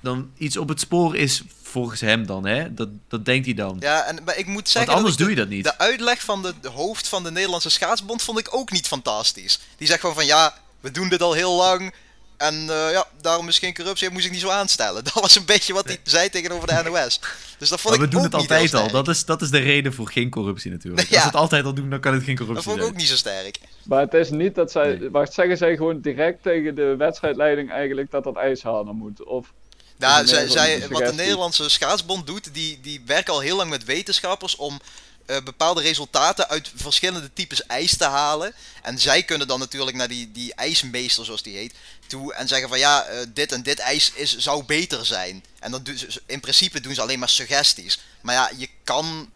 [SPEAKER 5] dan iets op het spoor is, volgens hem dan, hè? Dat, dat denkt hij dan.
[SPEAKER 3] Ja, en, maar ik moet
[SPEAKER 5] Want
[SPEAKER 3] zeggen.
[SPEAKER 5] anders
[SPEAKER 3] dat
[SPEAKER 5] doe
[SPEAKER 3] ik
[SPEAKER 5] je dat niet.
[SPEAKER 3] de, de uitleg van de, de hoofd van de Nederlandse Schaatsbond vond ik ook niet fantastisch. Die zegt gewoon van ja, we doen dit al heel lang. En eh, ja, daarom is geen corruptie, moest ik niet zo aanstellen. Dat was een beetje wat hij zei tegenover de NOS. Dus dat vond
[SPEAKER 5] Maar we
[SPEAKER 3] ik
[SPEAKER 5] doen
[SPEAKER 3] ook
[SPEAKER 5] het
[SPEAKER 3] niet heel
[SPEAKER 5] altijd al.
[SPEAKER 3] sterk.
[SPEAKER 5] Dat is, dat is de reden voor geen corruptie natuurlijk.
[SPEAKER 3] Ja.
[SPEAKER 5] Als we het altijd al doen, dan kan het geen
[SPEAKER 3] Dat
[SPEAKER 5] corruptie
[SPEAKER 3] vond ik ook
[SPEAKER 5] zijn.
[SPEAKER 3] niet zo sterk.
[SPEAKER 4] Maar het is niet dat zij.
[SPEAKER 5] Nee.
[SPEAKER 4] Wacht, zeggen zij gewoon direct tegen de wedstrijdleiding eigenlijk dat dat ijs halen moet? Of.
[SPEAKER 3] Nou,
[SPEAKER 4] Of
[SPEAKER 3] zij,
[SPEAKER 4] een
[SPEAKER 3] zij-
[SPEAKER 4] Nederlandse
[SPEAKER 3] wat de
[SPEAKER 4] suggestie.
[SPEAKER 3] Nederlandse schaatsbond doet, die, die werken al heel lang met wetenschappers om eh, bepaalde resultaten uit verschillende types ijs te halen. En zij kunnen dan natuurlijk naar die, die ijsmeester, zoals die heet, toe en zeggen van ja, eh, dit en dit ijs is, zou beter zijn. En dan doen ze, in principe doen ze alleen maar suggesties. Maar ja, je kan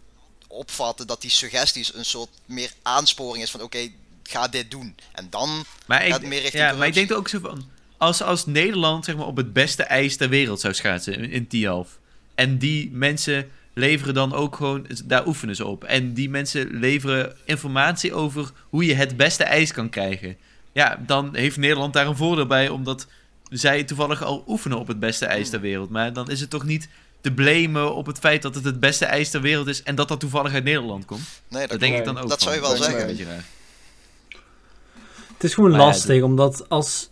[SPEAKER 3] opvatten dat die suggesties een soort meer aansporing is van oké, ga dit doen. En dan
[SPEAKER 5] Maar
[SPEAKER 3] gaat
[SPEAKER 5] ik,
[SPEAKER 3] meer richting
[SPEAKER 5] ja, maar ik
[SPEAKER 3] corruptie.
[SPEAKER 5] denk ook zo van. als, als Nederland zeg maar, op het beste ijs ter wereld zou schaatsen in, in Tialf. En die mensen leveren dan ook gewoon, daar oefenen ze op. En die mensen leveren informatie over hoe je het beste ijs kan krijgen. Ja, dan heeft Nederland daar een voordeel bij, omdat zij toevallig al oefenen op het beste ijs ter wereld. Maar dan is het toch niet te blamen op het feit dat het het beste ijs ter wereld is en dat dat toevallig uit Nederland komt.
[SPEAKER 3] Nee, dat,
[SPEAKER 5] Dat denk ik dan
[SPEAKER 4] Nee,
[SPEAKER 5] ook.
[SPEAKER 3] dat zou je
[SPEAKER 5] van.
[SPEAKER 3] wel
[SPEAKER 5] Dat is
[SPEAKER 3] zeggen.
[SPEAKER 5] een beetje raar.
[SPEAKER 2] Het is gewoon
[SPEAKER 5] Maar Ah, ja,
[SPEAKER 2] lastig, omdat als...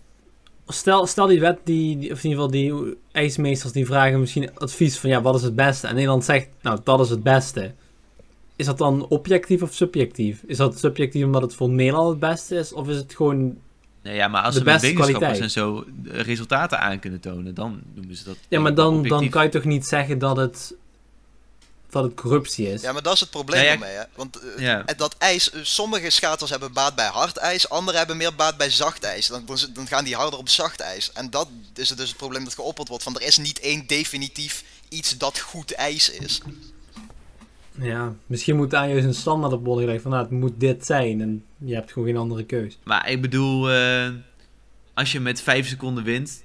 [SPEAKER 2] Stel, stel die wet, die, die- of in ieder geval die ijsmeesters, die vragen misschien advies van ja, wat is het beste? En Nederland zegt, nou, dat is het beste. Is dat dan objectief of subjectief? Is dat subjectief omdat het voor Nederland het beste is? Of is het gewoon...
[SPEAKER 5] Nee, ja, maar als
[SPEAKER 2] De
[SPEAKER 5] ze met
[SPEAKER 2] beste
[SPEAKER 5] wetenschappers
[SPEAKER 2] kwaliteit.
[SPEAKER 5] en zo eh, resultaten aan kunnen tonen, dan noemen ze dat.
[SPEAKER 2] Ja, maar dan, dan
[SPEAKER 5] objectief.
[SPEAKER 2] kan je toch niet zeggen dat het, dat het corruptie is?
[SPEAKER 3] Ja, maar dat is het probleem
[SPEAKER 5] Ja, ja,
[SPEAKER 3] ermee, hè. Want eh,
[SPEAKER 5] Ja.
[SPEAKER 3] eh, dat ijs, eh, sommige schaters hebben baat bij hard ijs, anderen hebben meer baat bij zacht ijs. Dan, dan, dan gaan die harder op zacht ijs. En dat is het dus het probleem dat geopperd wordt, van er is niet één definitief iets dat goed ijs is.
[SPEAKER 2] Ja, misschien moet daar juist een standaard op worden gelegd van nou, het moet dit zijn en je hebt gewoon geen andere keus.
[SPEAKER 5] Maar ik bedoel, eh, als je met vijf seconden wint,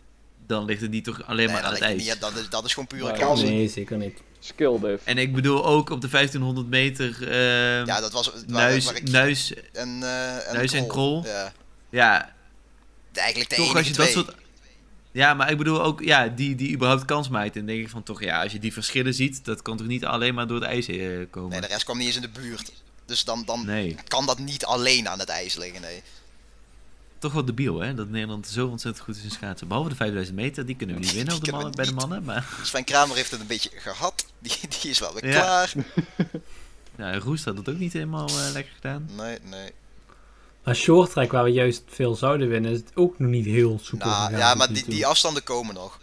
[SPEAKER 5] dan ligt het niet toch
[SPEAKER 3] Nee,
[SPEAKER 5] alleen maar aan
[SPEAKER 3] dat,
[SPEAKER 5] het
[SPEAKER 3] lijkt me
[SPEAKER 5] ijs.
[SPEAKER 3] niet, ja, dat, is, dat is gewoon pure
[SPEAKER 4] Nee.
[SPEAKER 3] kans.
[SPEAKER 2] Nee, zeker niet.
[SPEAKER 4] Skill diff.
[SPEAKER 5] En ik bedoel ook op de 1500 meter. eh,
[SPEAKER 3] Ja, dat was waar,
[SPEAKER 5] Nuis,
[SPEAKER 3] waar ik-
[SPEAKER 5] Nuis,
[SPEAKER 3] en, eh en
[SPEAKER 5] Nuis en Krol.
[SPEAKER 3] Ja.
[SPEAKER 5] ja,
[SPEAKER 3] Eigenlijk de
[SPEAKER 5] toch
[SPEAKER 3] enige
[SPEAKER 5] als je
[SPEAKER 3] twee.
[SPEAKER 5] dat soort. Ja, maar ik bedoel ook, ja, die, die überhaupt kans maakt. Dan denk ik van toch, ja, als je die verschillen ziet, dat kan toch niet alleen maar door het ijs eh,
[SPEAKER 3] Nee,
[SPEAKER 5] komen.
[SPEAKER 3] de rest kwam niet eens in de buurt. Dus dan, dan
[SPEAKER 5] nee.
[SPEAKER 3] kan dat niet alleen aan het ijs liggen, nee.
[SPEAKER 5] toch wel debiel, hè? Dat Nederland zo ontzettend goed is in schaatsen. Behalve de 5000 meter, die kunnen we niet
[SPEAKER 3] Die
[SPEAKER 5] winnen op de
[SPEAKER 3] kunnen we
[SPEAKER 5] mannen, bij de
[SPEAKER 3] niet.
[SPEAKER 5] mannen. Maar
[SPEAKER 3] Sven Kramer heeft het een beetje gehad. Die, die is wel weer
[SPEAKER 5] Ja.
[SPEAKER 3] klaar.
[SPEAKER 5] nou, Roest had dat ook niet helemaal eh, lekker gedaan.
[SPEAKER 3] Nee, nee.
[SPEAKER 2] Maar short track, waar we juist veel zouden winnen, is het ook nog niet heel soepel.
[SPEAKER 3] Nou,
[SPEAKER 2] gegaan
[SPEAKER 3] ja,
[SPEAKER 2] tot
[SPEAKER 3] maar
[SPEAKER 2] nu
[SPEAKER 3] die,
[SPEAKER 2] toe.
[SPEAKER 3] die afstanden komen nog.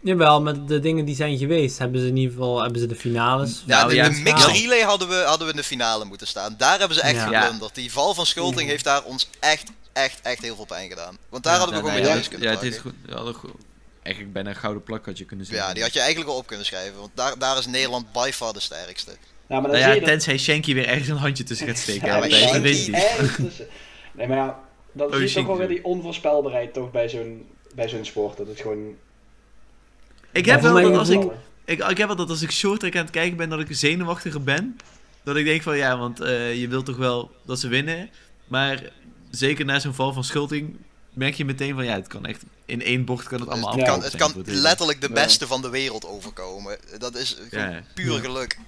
[SPEAKER 2] Jawel, met de dingen die zijn geweest, hebben ze in ieder geval hebben ze de finales.
[SPEAKER 3] Ja,
[SPEAKER 5] Nou,
[SPEAKER 3] de,
[SPEAKER 5] ja,
[SPEAKER 3] de
[SPEAKER 5] het
[SPEAKER 3] mixed
[SPEAKER 5] verhaal.
[SPEAKER 3] relay hadden we, hadden we in de finale moeten staan. Daar hebben ze echt
[SPEAKER 2] Ja.
[SPEAKER 3] geblunderd. Die val van Schulting
[SPEAKER 2] Ja.
[SPEAKER 3] heeft daar ons echt, echt, echt heel veel pijn gedaan. Want daar hadden we
[SPEAKER 5] Ja,
[SPEAKER 3] gewoon
[SPEAKER 5] nou,
[SPEAKER 3] weer thuis
[SPEAKER 5] ja,
[SPEAKER 3] kunnen
[SPEAKER 5] Ja, het is
[SPEAKER 3] pakken.
[SPEAKER 5] goed. we hadden goed- Eigenlijk bijna een gouden plak had je kunnen zeggen.
[SPEAKER 3] Ja, die had je eigenlijk al op kunnen schrijven. Want daar, daar is Nederland by far de sterkste.
[SPEAKER 6] Nou, maar dan
[SPEAKER 5] Nou
[SPEAKER 6] zie
[SPEAKER 5] ja,
[SPEAKER 6] je dat-
[SPEAKER 5] tenzij Shanky weer ergens een handje tussen gaat steken.
[SPEAKER 3] Ja,
[SPEAKER 5] hè,
[SPEAKER 3] maar
[SPEAKER 5] tijdens de
[SPEAKER 3] Shanky
[SPEAKER 5] winst die.
[SPEAKER 6] ergens tussen. Nee, maar ja,
[SPEAKER 5] Oh,
[SPEAKER 6] dat is
[SPEAKER 5] zie
[SPEAKER 6] toch
[SPEAKER 5] ik
[SPEAKER 6] wel weer
[SPEAKER 5] zo.
[SPEAKER 6] die onvoorspelbaarheid toch bij zo'n bij zo'n sport. Dat het gewoon...
[SPEAKER 5] Ik heb
[SPEAKER 2] voor
[SPEAKER 5] wel
[SPEAKER 2] mij
[SPEAKER 5] dat als ik,
[SPEAKER 2] ook-
[SPEAKER 5] ik, ik heb wel dat als ik short track aan het kijken ben, dat ik zenuwachtiger ben. Dat ik denk van ja, want eh, je wilt toch wel dat ze winnen. Maar zeker na zo'n val van Schulting merk je meteen van ja, het kan echt in één bocht kan het allemaal
[SPEAKER 6] Het
[SPEAKER 3] Het kan,
[SPEAKER 5] afgelopen
[SPEAKER 3] het
[SPEAKER 5] zijn
[SPEAKER 3] kan
[SPEAKER 5] voor het hele-
[SPEAKER 3] letterlijk de
[SPEAKER 4] Ja.
[SPEAKER 3] beste van de wereld overkomen. Dat is gewoon
[SPEAKER 5] Ja.
[SPEAKER 3] puur geluk.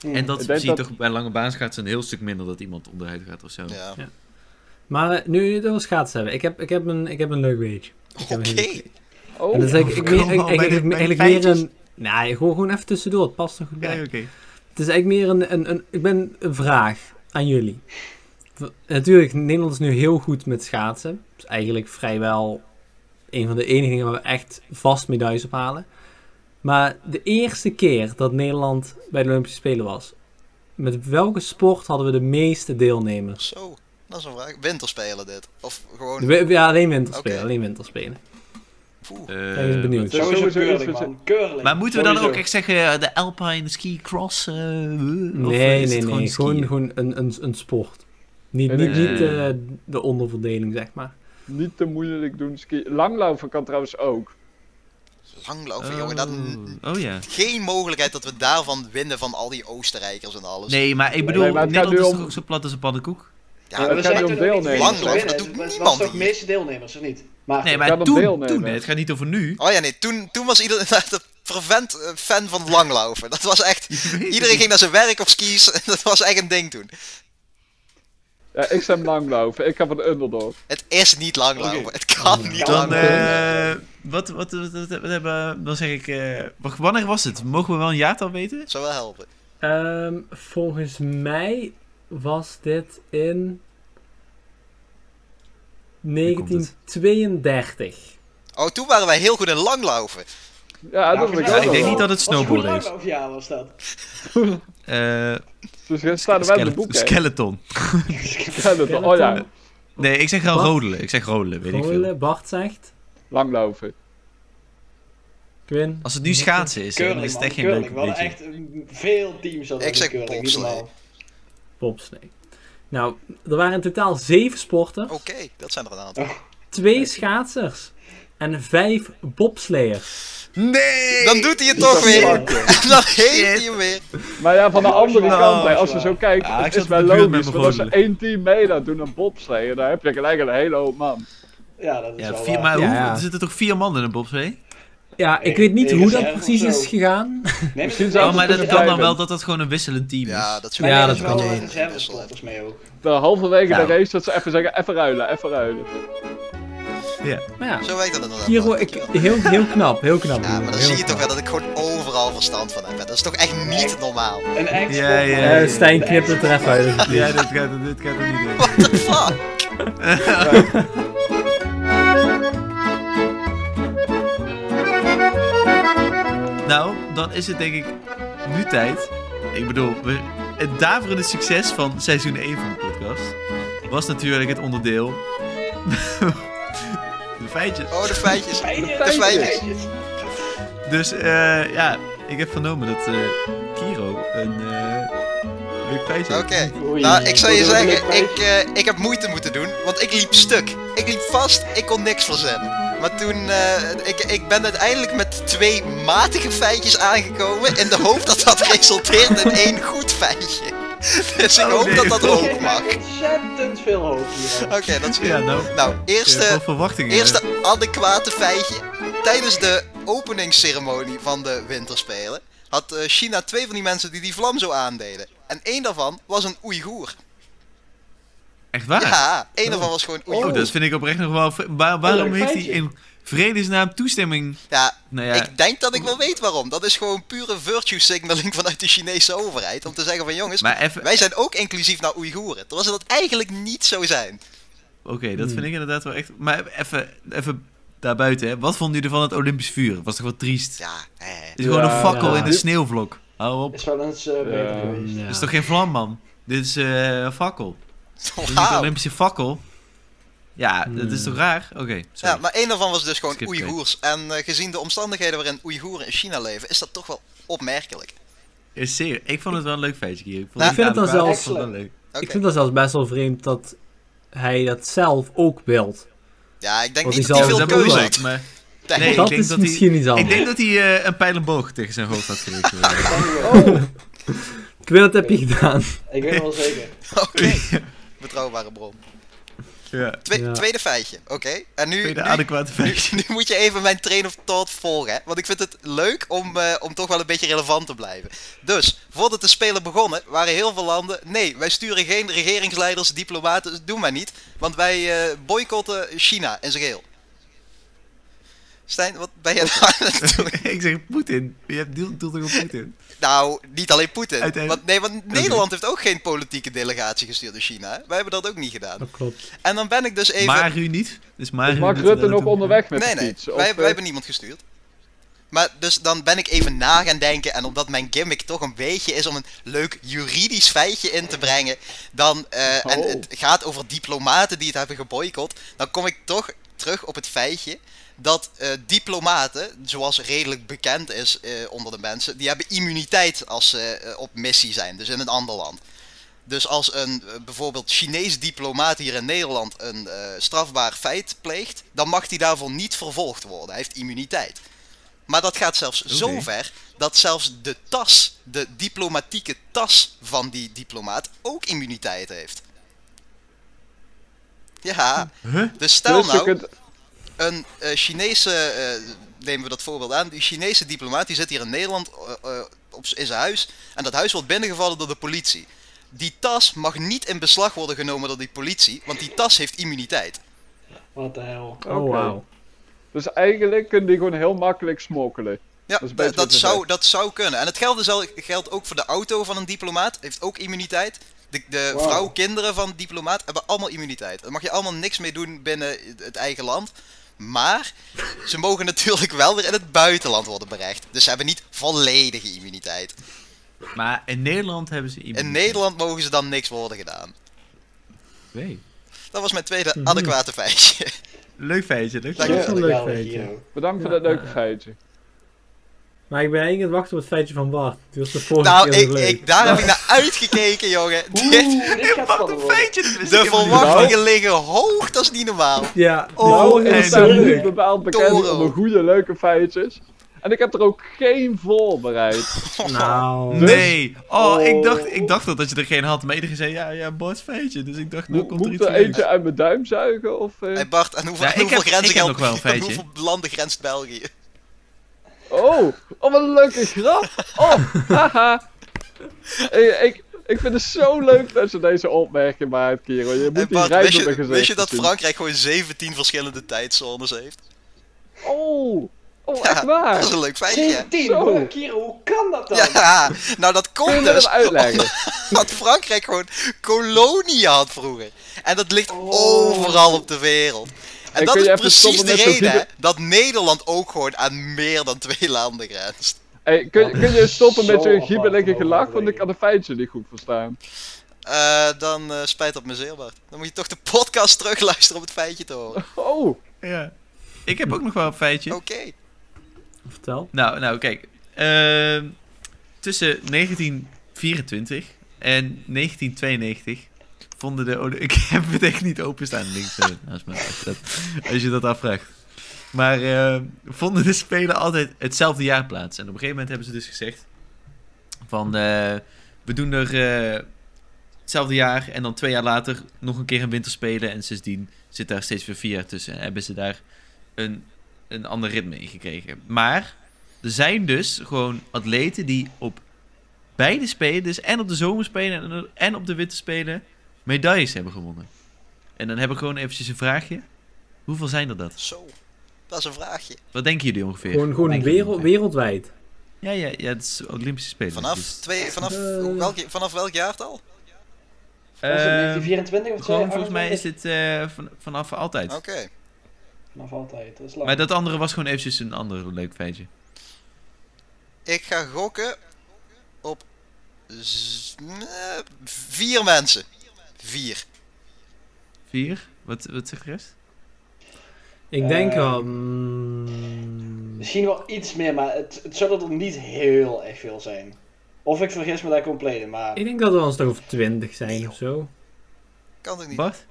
[SPEAKER 6] Hm.
[SPEAKER 5] En dat
[SPEAKER 4] Ik denk
[SPEAKER 5] zie je
[SPEAKER 4] dat-
[SPEAKER 5] toch bij lange baans gaat een heel stuk minder dat iemand onderuit gaat of zo.
[SPEAKER 3] Ja.
[SPEAKER 2] Ja. Maar eh, nu jullie het over schaatsen hebben, ik heb, ik heb, een, ik heb een leuk weetje. Ik
[SPEAKER 3] Oké.
[SPEAKER 2] heb een heel leuk weetje.
[SPEAKER 4] Oh,
[SPEAKER 2] En dat is eigenlijk, ik,
[SPEAKER 5] Kom
[SPEAKER 2] meer-
[SPEAKER 5] op,
[SPEAKER 2] eigenlijk,
[SPEAKER 5] bij de-
[SPEAKER 2] eigenlijk-
[SPEAKER 5] bij de
[SPEAKER 2] eigenlijk meer een...
[SPEAKER 5] feitjes.
[SPEAKER 2] Nee, gewoon, gewoon even tussendoor, het past nog goed bij.
[SPEAKER 5] Ja, oké.
[SPEAKER 2] Het is eigenlijk meer een, een, een, ik ben een vraag aan jullie. W- Natuurlijk, Nederland is nu heel goed met schaatsen. Het is eigenlijk vrijwel een van de enige dingen waar we echt vast medailles op halen. Maar de eerste keer dat Nederland bij de Olympische Spelen was, met welke sport hadden we de meeste deelnemers?
[SPEAKER 3] Zo, dat is een vraag. Winterspelen dit. Of gewoon...
[SPEAKER 2] De wi- ja, alleen winterspelen,
[SPEAKER 3] Oké.
[SPEAKER 2] alleen winterspelen.
[SPEAKER 3] Poeh.
[SPEAKER 5] Eh,
[SPEAKER 2] Ik ben benieuwd.
[SPEAKER 4] is
[SPEAKER 6] Sowieso
[SPEAKER 4] sowieso
[SPEAKER 6] curling,
[SPEAKER 4] iets wat-
[SPEAKER 6] man. Curling.
[SPEAKER 5] Maar moeten we dan
[SPEAKER 6] Sowieso.
[SPEAKER 5] ook echt zeggen eh, de Alpine Ski Cross? eh, of
[SPEAKER 2] Nee,
[SPEAKER 5] is
[SPEAKER 2] nee,
[SPEAKER 5] het gewoon
[SPEAKER 2] nee.
[SPEAKER 5] skiën?
[SPEAKER 2] Gewoon, gewoon een, een, een sport. Niet,
[SPEAKER 4] En
[SPEAKER 2] niet,
[SPEAKER 5] het-
[SPEAKER 2] niet
[SPEAKER 5] Eh.
[SPEAKER 2] eh, de onderverdeling, zeg maar.
[SPEAKER 4] Niet te moeilijk doen ski. Langlaufen kan trouwens ook.
[SPEAKER 3] Langlopen, jongen. Dat,
[SPEAKER 5] Oh, oh ja.
[SPEAKER 3] geen mogelijkheid dat we daarvan winnen van al die Oostenrijkers en alles.
[SPEAKER 5] Nee, maar ik bedoel,
[SPEAKER 4] Nee, maar het gaat
[SPEAKER 5] Nederland is
[SPEAKER 4] nu
[SPEAKER 5] toch
[SPEAKER 4] om-
[SPEAKER 5] ook zo plat als een pannenkoek?
[SPEAKER 3] Ja,
[SPEAKER 6] Ja,
[SPEAKER 4] dat
[SPEAKER 6] we
[SPEAKER 4] gaat
[SPEAKER 6] zijn
[SPEAKER 4] niet
[SPEAKER 6] toen
[SPEAKER 4] om
[SPEAKER 6] ook niet
[SPEAKER 4] deelnemers.
[SPEAKER 6] geweest
[SPEAKER 3] Lang,
[SPEAKER 6] te winnen.
[SPEAKER 3] dat doet
[SPEAKER 6] Het was-
[SPEAKER 3] niemand
[SPEAKER 6] was toch
[SPEAKER 3] hier.
[SPEAKER 6] meeste deelnemers, of niet? Maar
[SPEAKER 5] Nee,
[SPEAKER 4] gaat
[SPEAKER 5] maar
[SPEAKER 4] om
[SPEAKER 5] toen,
[SPEAKER 4] deelnemen.
[SPEAKER 5] toen, hè, het gaat niet over nu.
[SPEAKER 3] Oh ja, nee, toen, toen was iedereen echt een fervent eh, fan van langlopen. Dat was echt... Iedereen ging naar zijn werk op skis. Dat was echt een ding toen.
[SPEAKER 4] Ja, ik stem langlaufen. Ik heb een underdog.
[SPEAKER 3] Het is niet langlopen.
[SPEAKER 6] Oké. Oh,
[SPEAKER 3] Het kan niet
[SPEAKER 5] Dan,
[SPEAKER 3] langlopen.
[SPEAKER 5] eh, wat, wat, wat, wat- wat hebben, dan zeg ik, eh, wacht, wanneer was het? Mogen we wel een jaartal weten?
[SPEAKER 3] Het zou wel helpen.
[SPEAKER 2] Ehm, volgens mij was dit in
[SPEAKER 5] komt het.
[SPEAKER 2] 1932.
[SPEAKER 3] Oh, toen waren wij heel goed in langlopen.
[SPEAKER 4] Ja, dat wil ik
[SPEAKER 5] Ja,
[SPEAKER 4] ook
[SPEAKER 5] ik denk
[SPEAKER 4] wel.
[SPEAKER 5] niet dat het snowboarden is.
[SPEAKER 6] Of ja, nou was dat?
[SPEAKER 5] Eh,
[SPEAKER 4] Dus er staan er wel in de
[SPEAKER 5] skele-
[SPEAKER 4] boeken. hè.
[SPEAKER 5] skeleton.
[SPEAKER 4] Skeleton. Oh ja,
[SPEAKER 5] Nee, ik zeg wel
[SPEAKER 2] Wat?
[SPEAKER 5] rodelen. Ik zeg rodelen, weet ik veel.
[SPEAKER 2] Goorle, Bart zegt.
[SPEAKER 4] langlaufen.
[SPEAKER 2] Quinn.
[SPEAKER 5] Als het nu schaatsen is, hè, dan
[SPEAKER 6] Curling,
[SPEAKER 5] is het
[SPEAKER 6] man.
[SPEAKER 5] echt geen leuk
[SPEAKER 6] Curling. We hadden
[SPEAKER 5] beetje.
[SPEAKER 6] echt mm, veel teams hadden
[SPEAKER 3] Ik
[SPEAKER 6] we
[SPEAKER 3] zeg
[SPEAKER 6] curling. Niet
[SPEAKER 3] bobsleigh.
[SPEAKER 6] normaal.
[SPEAKER 2] Bobslee. Nou, er waren in totaal zeven sporten.
[SPEAKER 3] Oké, dat zijn er een aantal.
[SPEAKER 2] Twee schaatsers. en vijf bobsleiers.
[SPEAKER 5] Nee!
[SPEAKER 3] Dan doet hij het toch weer.
[SPEAKER 4] fuck it.
[SPEAKER 3] En dan heeft hij
[SPEAKER 5] Shit.
[SPEAKER 3] hem weer.
[SPEAKER 4] Maar ja, van de andere
[SPEAKER 6] Nou,
[SPEAKER 4] kant, hè, als je
[SPEAKER 6] zwaar.
[SPEAKER 4] zo kijkt,
[SPEAKER 5] Ja, ik
[SPEAKER 4] het
[SPEAKER 5] zat
[SPEAKER 4] is wel
[SPEAKER 5] op de buurt met
[SPEAKER 4] logisch.
[SPEAKER 5] mijn
[SPEAKER 4] Want als er
[SPEAKER 5] voordelen.
[SPEAKER 4] één team mee laat doen aan bobsleeën, dan heb je gelijk een hele hoop man.
[SPEAKER 6] Ja, dat is
[SPEAKER 5] Ja,
[SPEAKER 6] wel
[SPEAKER 5] vier,
[SPEAKER 6] waar.
[SPEAKER 5] maar hoe,
[SPEAKER 2] Ja, ja.
[SPEAKER 5] er zitten toch vier mannen in een bobslee?
[SPEAKER 2] Ja, ik
[SPEAKER 6] Ik-
[SPEAKER 2] weet niet
[SPEAKER 6] ik
[SPEAKER 2] hoe
[SPEAKER 6] is
[SPEAKER 2] dat
[SPEAKER 6] erg of
[SPEAKER 2] precies
[SPEAKER 6] zo.
[SPEAKER 2] is gegaan.
[SPEAKER 6] Nee, maar
[SPEAKER 4] Misschien
[SPEAKER 6] dat-
[SPEAKER 4] zou
[SPEAKER 5] Oh, maar dat
[SPEAKER 4] tussen
[SPEAKER 5] kan
[SPEAKER 4] vijf
[SPEAKER 5] dan
[SPEAKER 4] en-
[SPEAKER 5] wel dat dat gewoon een wisselend team is.
[SPEAKER 3] Ja, dat is
[SPEAKER 2] Ja,
[SPEAKER 6] dat
[SPEAKER 2] dat
[SPEAKER 6] is
[SPEAKER 2] kan
[SPEAKER 6] wel
[SPEAKER 2] je.
[SPEAKER 6] een service volgens mij ook.
[SPEAKER 4] De halverwege
[SPEAKER 5] Nou.
[SPEAKER 4] de race dat ze even zeggen, even ruilen, even ruilen.
[SPEAKER 5] Ja.
[SPEAKER 2] Maar ja,
[SPEAKER 3] Zo werkt dat inderdaad.
[SPEAKER 2] Kiro,
[SPEAKER 3] wel.
[SPEAKER 2] ik, heel, heel knap, heel knap.
[SPEAKER 3] Ja, maar
[SPEAKER 2] Kiro,
[SPEAKER 3] dan
[SPEAKER 2] heel
[SPEAKER 3] zie je toch
[SPEAKER 2] knap.
[SPEAKER 3] wel dat ik gewoon overal verstand van heb. hè. Dat is toch echt niet normaal.
[SPEAKER 6] Een ex
[SPEAKER 5] Ja, ja,
[SPEAKER 2] Eh, Stijn knipt het er even uit. alsjeblieft.
[SPEAKER 5] Ja, dit gaat, dit gaat er niet in.
[SPEAKER 3] What the fuck?
[SPEAKER 5] Nou, dan is het denk ik nu tijd. Ik bedoel, we, het daverende succes van seizoen 1 van de podcast was natuurlijk het onderdeel. de feitjes.
[SPEAKER 3] Oh, de feitjes.
[SPEAKER 6] De
[SPEAKER 3] De feitjes.
[SPEAKER 6] feitjes.
[SPEAKER 5] Dus eh, ja, ik heb vernomen dat eh, Kiro een eh leuk feitje
[SPEAKER 3] Oké.
[SPEAKER 5] heeft.
[SPEAKER 6] Oei.
[SPEAKER 3] Nou, ik zou je
[SPEAKER 6] Wat een leuk
[SPEAKER 3] zeggen, ik,
[SPEAKER 6] feitje.
[SPEAKER 3] eh, ik heb moeite moeten doen, want ik liep stuk. Ik liep vast, ik kon niks verzinnen. Maar toen, eh, ik, ik ben uiteindelijk met twee matige feitjes aangekomen in de hoop dat dat resulteert in één goed feitje. Dus ik
[SPEAKER 5] Oh,
[SPEAKER 3] hoop
[SPEAKER 5] nee.
[SPEAKER 3] dat dat
[SPEAKER 6] Ik
[SPEAKER 3] ook
[SPEAKER 6] geef
[SPEAKER 3] mag.
[SPEAKER 6] mij
[SPEAKER 3] Oké,
[SPEAKER 6] ontzettend veel hoop hier.
[SPEAKER 3] dat is goed.
[SPEAKER 5] Ja, nou,
[SPEAKER 3] Nou,
[SPEAKER 5] eh,
[SPEAKER 3] eerste,
[SPEAKER 5] wat verwachtingen.
[SPEAKER 3] eerste adequate feitje. Tijdens de openingsceremonie van de Winterspelen had eh, China twee van die mensen die die vlam zo aandeden. En één daarvan was een Oeigoer.
[SPEAKER 5] Echt waar?
[SPEAKER 3] Ja, één daarvan was gewoon Oeigoer.
[SPEAKER 5] Oh, dat vind ik oprecht nog wel... vre- Waar, waarom
[SPEAKER 6] leuk
[SPEAKER 5] heeft hij
[SPEAKER 6] feitje.
[SPEAKER 5] in vredesnaam toestemming...
[SPEAKER 3] Ja,
[SPEAKER 5] Nou ja,
[SPEAKER 3] Ik denk dat ik wel weet waarom. Dat is gewoon pure virtue signaling vanuit de Chinese overheid. Om te zeggen van jongens,
[SPEAKER 5] maar even...
[SPEAKER 3] wij zijn ook inclusief naar Oeigoeren. Terwijl ze dat eigenlijk niet zo zijn.
[SPEAKER 5] Oké, dat
[SPEAKER 2] Hmm.
[SPEAKER 5] vind ik inderdaad wel echt... Maar even, even daarbuiten, hè. Wat vond u ervan het Olympisch vuur? Was toch wel triest?
[SPEAKER 3] Ja, hè.
[SPEAKER 5] Het is gewoon een
[SPEAKER 4] Ja,
[SPEAKER 5] fakkel
[SPEAKER 2] ja.
[SPEAKER 5] in een sneeuwvlok. Hou op.
[SPEAKER 6] Is wel eens eh, beter
[SPEAKER 4] Ja.
[SPEAKER 6] geweest.
[SPEAKER 5] Dit is
[SPEAKER 2] Ja.
[SPEAKER 5] toch geen vlam, man? Dit is eh, een fakkel. Dit is niet een
[SPEAKER 3] Wauw.
[SPEAKER 5] Olympische fakkel. Ja, dat
[SPEAKER 2] Hmm.
[SPEAKER 5] is toch raar? Oké, sorry.
[SPEAKER 3] Ja, maar één daarvan was dus gewoon
[SPEAKER 5] Skip twee.
[SPEAKER 3] Oeigoers. En eh, gezien de omstandigheden waarin Oeigoeren in China leven, is dat toch wel opmerkelijk.
[SPEAKER 5] Is serieus. Ik vond het wel een leuk feitje hier. Ik, vond
[SPEAKER 3] Nou,
[SPEAKER 5] het
[SPEAKER 2] ik vind het dan
[SPEAKER 5] adequaat.
[SPEAKER 2] zelfs-
[SPEAKER 5] Ik vond het wel leuk.
[SPEAKER 3] Oké.
[SPEAKER 2] Ik vind dat zelfs best wel vreemd dat hij dat zelf ook wilt.
[SPEAKER 3] Ja, ik denk
[SPEAKER 2] Want
[SPEAKER 3] niet
[SPEAKER 2] die
[SPEAKER 3] dat
[SPEAKER 2] zal-
[SPEAKER 3] hij veel
[SPEAKER 5] dat bedoel
[SPEAKER 3] keuze
[SPEAKER 5] ik,
[SPEAKER 3] had.
[SPEAKER 5] maar...
[SPEAKER 3] Denk
[SPEAKER 5] Nee,
[SPEAKER 3] ik.
[SPEAKER 5] ik
[SPEAKER 2] dat
[SPEAKER 5] denk
[SPEAKER 2] is
[SPEAKER 5] dat hij-
[SPEAKER 2] misschien iets
[SPEAKER 5] Ik
[SPEAKER 2] anders.
[SPEAKER 5] denk dat hij eh, een pijl en boog tegen zijn hoofd had gericht.
[SPEAKER 2] Ik weet dat heb je gedaan.
[SPEAKER 6] Ik weet het wel zeker.
[SPEAKER 3] Oké, betrouwbare bron.
[SPEAKER 5] ja,
[SPEAKER 3] Twee-
[SPEAKER 2] Ja.
[SPEAKER 3] Tweede feitje, oké. En nu,
[SPEAKER 5] tweede
[SPEAKER 3] nu-
[SPEAKER 5] adequate
[SPEAKER 3] Nu,
[SPEAKER 5] feitje.
[SPEAKER 3] nu moet je even mijn train of thought volgen. Hè? Want ik vind het leuk om, eh, om toch wel een beetje relevant te blijven. Dus, voordat de Spelen begonnen, waren heel veel landen... Nee, wij sturen geen regeringsleiders, diplomaten, doen wij niet. Want wij eh, boycotten China in zijn geheel. Stijn, wat ben jij nou aan het doen?
[SPEAKER 5] ik zeg Poetin. Je hebt doelt doelt toch op Poetin?
[SPEAKER 3] Nou, niet alleen Poetin.
[SPEAKER 5] Uiteindelijk-
[SPEAKER 3] Want, nee, want Nederland heeft ook geen politieke delegatie gestuurd naar China. Hè? Wij hebben dat ook niet gedaan.
[SPEAKER 2] Dat klopt.
[SPEAKER 3] En dan ben ik dus even...
[SPEAKER 5] Maar u niet. Dus maar
[SPEAKER 4] Is Mark Rutte nog onderweg met
[SPEAKER 3] Nee,
[SPEAKER 4] de
[SPEAKER 3] nee.
[SPEAKER 4] fiets? Of,
[SPEAKER 3] Wij, wij
[SPEAKER 4] eh,
[SPEAKER 3] hebben niemand gestuurd. Maar dus dan ben ik even na gaan denken. En omdat mijn gimmick toch een beetje is om een leuk juridisch feitje in te brengen. Dan, eh, En
[SPEAKER 4] Oh.
[SPEAKER 3] het gaat over diplomaten die het hebben geboycott. Dan kom ik toch terug op het feitje. Dat eh, diplomaten, zoals redelijk bekend is eh, onder de mensen, die hebben immuniteit als ze eh, op missie zijn, dus in een ander land. Dus als een eh, bijvoorbeeld Chinees diplomaat hier in Nederland een eh, strafbaar feit pleegt, dan mag hij daarvoor niet vervolgd worden. Hij heeft immuniteit. Maar dat gaat zelfs zo ver dat zelfs de tas, de diplomatieke tas van die diplomaat, ook immuniteit heeft. Ja, dus stel
[SPEAKER 4] dus je
[SPEAKER 3] nou,
[SPEAKER 4] kunt-
[SPEAKER 3] een eh, Chinese, eh, nemen we dat voorbeeld aan, die Chinese diplomaat die zit hier in Nederland eh, eh, op, z- in zijn huis en dat huis wordt binnengevallen door de politie. Die tas mag niet in beslag worden genomen door die politie, want die tas heeft immuniteit.
[SPEAKER 6] Wat de hel.
[SPEAKER 2] Oh,
[SPEAKER 4] Oké.
[SPEAKER 2] wauw.
[SPEAKER 4] Dus eigenlijk kunnen die gewoon heel makkelijk smokkelen.
[SPEAKER 3] Ja,
[SPEAKER 4] Dat is
[SPEAKER 3] dat,
[SPEAKER 4] best
[SPEAKER 3] dat
[SPEAKER 4] wat je
[SPEAKER 3] zou,
[SPEAKER 4] zegt.
[SPEAKER 3] dat zou kunnen. En het geldt, dus al- geldt ook voor de auto van een diplomaat, heeft ook immuniteit. De, de
[SPEAKER 6] Wauw.
[SPEAKER 3] vrouw, kinderen van diplomaat hebben allemaal immuniteit. Daar mag je allemaal niks mee doen binnen het eigen land. Maar ze mogen natuurlijk wel weer in het buitenland worden berecht. Dus ze hebben niet volledige immuniteit.
[SPEAKER 5] Maar in Nederland hebben ze iemand.
[SPEAKER 3] In Nederland mogen ze dan niks worden gedaan.
[SPEAKER 5] Nee.
[SPEAKER 3] Dat was mijn tweede adequate feitje.
[SPEAKER 5] Leuk feitje, leuk
[SPEAKER 3] Dank je.
[SPEAKER 5] feitje.
[SPEAKER 6] Ja,
[SPEAKER 2] wel een leuk
[SPEAKER 6] geweldig,
[SPEAKER 2] feitje.
[SPEAKER 6] Guido.
[SPEAKER 4] Bedankt voor dat leuke feitje.
[SPEAKER 2] Maar ik ben eigenlijk aan het wachten op het feitje van Bart. Het was de vorige
[SPEAKER 3] Nou,
[SPEAKER 2] keer
[SPEAKER 3] ik,
[SPEAKER 2] zo leuk.
[SPEAKER 3] ik, daar heb ik naar uitgekeken, jongen. Dit,
[SPEAKER 6] Oeh, dit gaat
[SPEAKER 5] Wat
[SPEAKER 6] spannend
[SPEAKER 5] een
[SPEAKER 6] worden.
[SPEAKER 5] feitje! dat wist ik
[SPEAKER 3] de
[SPEAKER 5] helemaal niet.
[SPEAKER 3] verwachtingen liggen hoog, dat is niet normaal.
[SPEAKER 2] Ja,
[SPEAKER 5] Oh,
[SPEAKER 2] oh,
[SPEAKER 4] Nou,
[SPEAKER 5] en
[SPEAKER 4] ik
[SPEAKER 2] is
[SPEAKER 5] zo
[SPEAKER 4] sta
[SPEAKER 2] zo
[SPEAKER 4] er niet
[SPEAKER 2] leuk.
[SPEAKER 4] bepaald bekend
[SPEAKER 3] Toro.
[SPEAKER 4] om de goede, leuke feitjes. En ik heb er ook geen voorbereid.
[SPEAKER 2] Nou,
[SPEAKER 5] Nee. Oh, Ik,
[SPEAKER 6] Oh.
[SPEAKER 5] dacht, ik dacht al dat je er geen had. Maar iedereen zei, ja, ja, Bas feitje. Dus ik dacht, nou
[SPEAKER 4] Mo-
[SPEAKER 5] komt er
[SPEAKER 4] Moet ik
[SPEAKER 5] iets
[SPEAKER 4] er
[SPEAKER 5] leuks.
[SPEAKER 4] eentje uit mijn duim zuigen? Of, eh?
[SPEAKER 3] Hey Bart, aan hoeveel, aan
[SPEAKER 5] Ja, ik
[SPEAKER 3] hoeveel
[SPEAKER 5] heb-
[SPEAKER 3] grenzen
[SPEAKER 5] ik heb
[SPEAKER 3] geldt-
[SPEAKER 5] nog wel een
[SPEAKER 3] aan
[SPEAKER 5] feitje.
[SPEAKER 3] hoeveel landen grenst België?
[SPEAKER 4] Oh, oh, wat een leuke grap! Oh, haha! Eh, ik, ik vind het zo leuk dat ze deze opmerking maakt, Kiro. Je
[SPEAKER 3] Hey
[SPEAKER 4] moet die
[SPEAKER 3] Bart,
[SPEAKER 4] rijst
[SPEAKER 3] wist
[SPEAKER 4] op mijn
[SPEAKER 3] je,
[SPEAKER 4] gezicht
[SPEAKER 3] wist je dat
[SPEAKER 4] zien.
[SPEAKER 3] Frankrijk gewoon 17 verschillende tijdzones heeft?
[SPEAKER 4] Oh, oh,
[SPEAKER 3] Ja,
[SPEAKER 4] echt waar?
[SPEAKER 3] Dat is een leuk feitje.
[SPEAKER 6] 17,
[SPEAKER 4] Zo.
[SPEAKER 6] hoor, Kiro, hoe kan dat dan?
[SPEAKER 3] Ja, nou dat
[SPEAKER 4] Kun je
[SPEAKER 3] komt
[SPEAKER 4] me
[SPEAKER 3] dus
[SPEAKER 4] dat uitleggen?
[SPEAKER 3] omdat Frankrijk gewoon koloniën had vroeger. En dat ligt
[SPEAKER 6] Oh.
[SPEAKER 3] overal op de wereld. En
[SPEAKER 4] En
[SPEAKER 3] dat
[SPEAKER 4] kun je
[SPEAKER 3] is
[SPEAKER 4] even
[SPEAKER 3] precies
[SPEAKER 4] stoppen
[SPEAKER 3] de
[SPEAKER 4] met dat
[SPEAKER 3] reden
[SPEAKER 4] hiele-
[SPEAKER 3] dat Nederland ook gewoon aan meer dan twee landen grenst.
[SPEAKER 4] Hey, kun, kun je stoppen met
[SPEAKER 6] Oh, Zo
[SPEAKER 4] je giebelige
[SPEAKER 6] apart
[SPEAKER 4] gelach, want ik
[SPEAKER 6] overdenken.
[SPEAKER 4] kan de feitje niet goed verstaan.
[SPEAKER 3] Eh, dan eh, spijt dat me zeer, Bart. Dan moet je toch de podcast terugluisteren om het feitje te horen.
[SPEAKER 4] Oh,
[SPEAKER 5] Ja. Ik heb ook nog wel een feitje.
[SPEAKER 3] Oké.
[SPEAKER 2] vertel.
[SPEAKER 5] Nou, nou, kijk. Ehm, tussen 1924 en 1992 vonden de... Olymp- Ik heb het echt niet openstaan. Ik denk, sorry, naast me, als, je dat, als je dat afvraagt. Maar ehm, vonden de Spelen altijd hetzelfde jaar plaats. En op een gegeven moment hebben ze dus gezegd... Van, eh, we doen er eh, hetzelfde jaar en dan twee jaar later nog een keer een winterspelen. En sindsdien zit daar steeds weer vier jaar tussen. En hebben ze daar een, een ander ritme in gekregen. Maar er zijn dus gewoon atleten die op beide spelen, dus en op de zomerspelen en- en op de winterspelen, medailles hebben gewonnen. En dan heb ik gewoon eventjes een vraagje. Hoeveel zijn er dat?
[SPEAKER 3] Zo, dat is een vraagje.
[SPEAKER 5] Wat denken jullie ongeveer?
[SPEAKER 2] Gewoon, gewoon
[SPEAKER 5] Wat denken
[SPEAKER 2] wereld,
[SPEAKER 5] jullie
[SPEAKER 2] wereldwijd.
[SPEAKER 5] ongeveer? Ja, ja, ja, het is Olympische Spelen.
[SPEAKER 3] Vanaf,
[SPEAKER 5] dus-
[SPEAKER 3] twee, vanaf,
[SPEAKER 2] Eh.
[SPEAKER 3] welk, vanaf welk jaartal?
[SPEAKER 6] Was het
[SPEAKER 5] Ehm,
[SPEAKER 6] 1924 of Ah,
[SPEAKER 5] gewoon volgens mij is
[SPEAKER 6] 1928?
[SPEAKER 5] dit eh, van- vanaf altijd.
[SPEAKER 3] Oké.
[SPEAKER 6] Vanaf altijd, dat is lang.
[SPEAKER 5] Maar dat andere was gewoon eventjes een ander leuk feitje.
[SPEAKER 3] Ik ga gokken op z- eh, vier mensen. Vier.
[SPEAKER 5] Vier? Wat, wat zegt de rest?
[SPEAKER 2] Ik denk
[SPEAKER 6] Ehm.
[SPEAKER 2] wel... mm,
[SPEAKER 6] Misschien wel iets meer, maar het, het zullen er niet heel erg veel zijn. Of ik vergis me daar compleet in, maar...
[SPEAKER 2] ik denk dat we ons toch over twintig zijn of zo.
[SPEAKER 3] Kan toch niet?
[SPEAKER 5] Bart?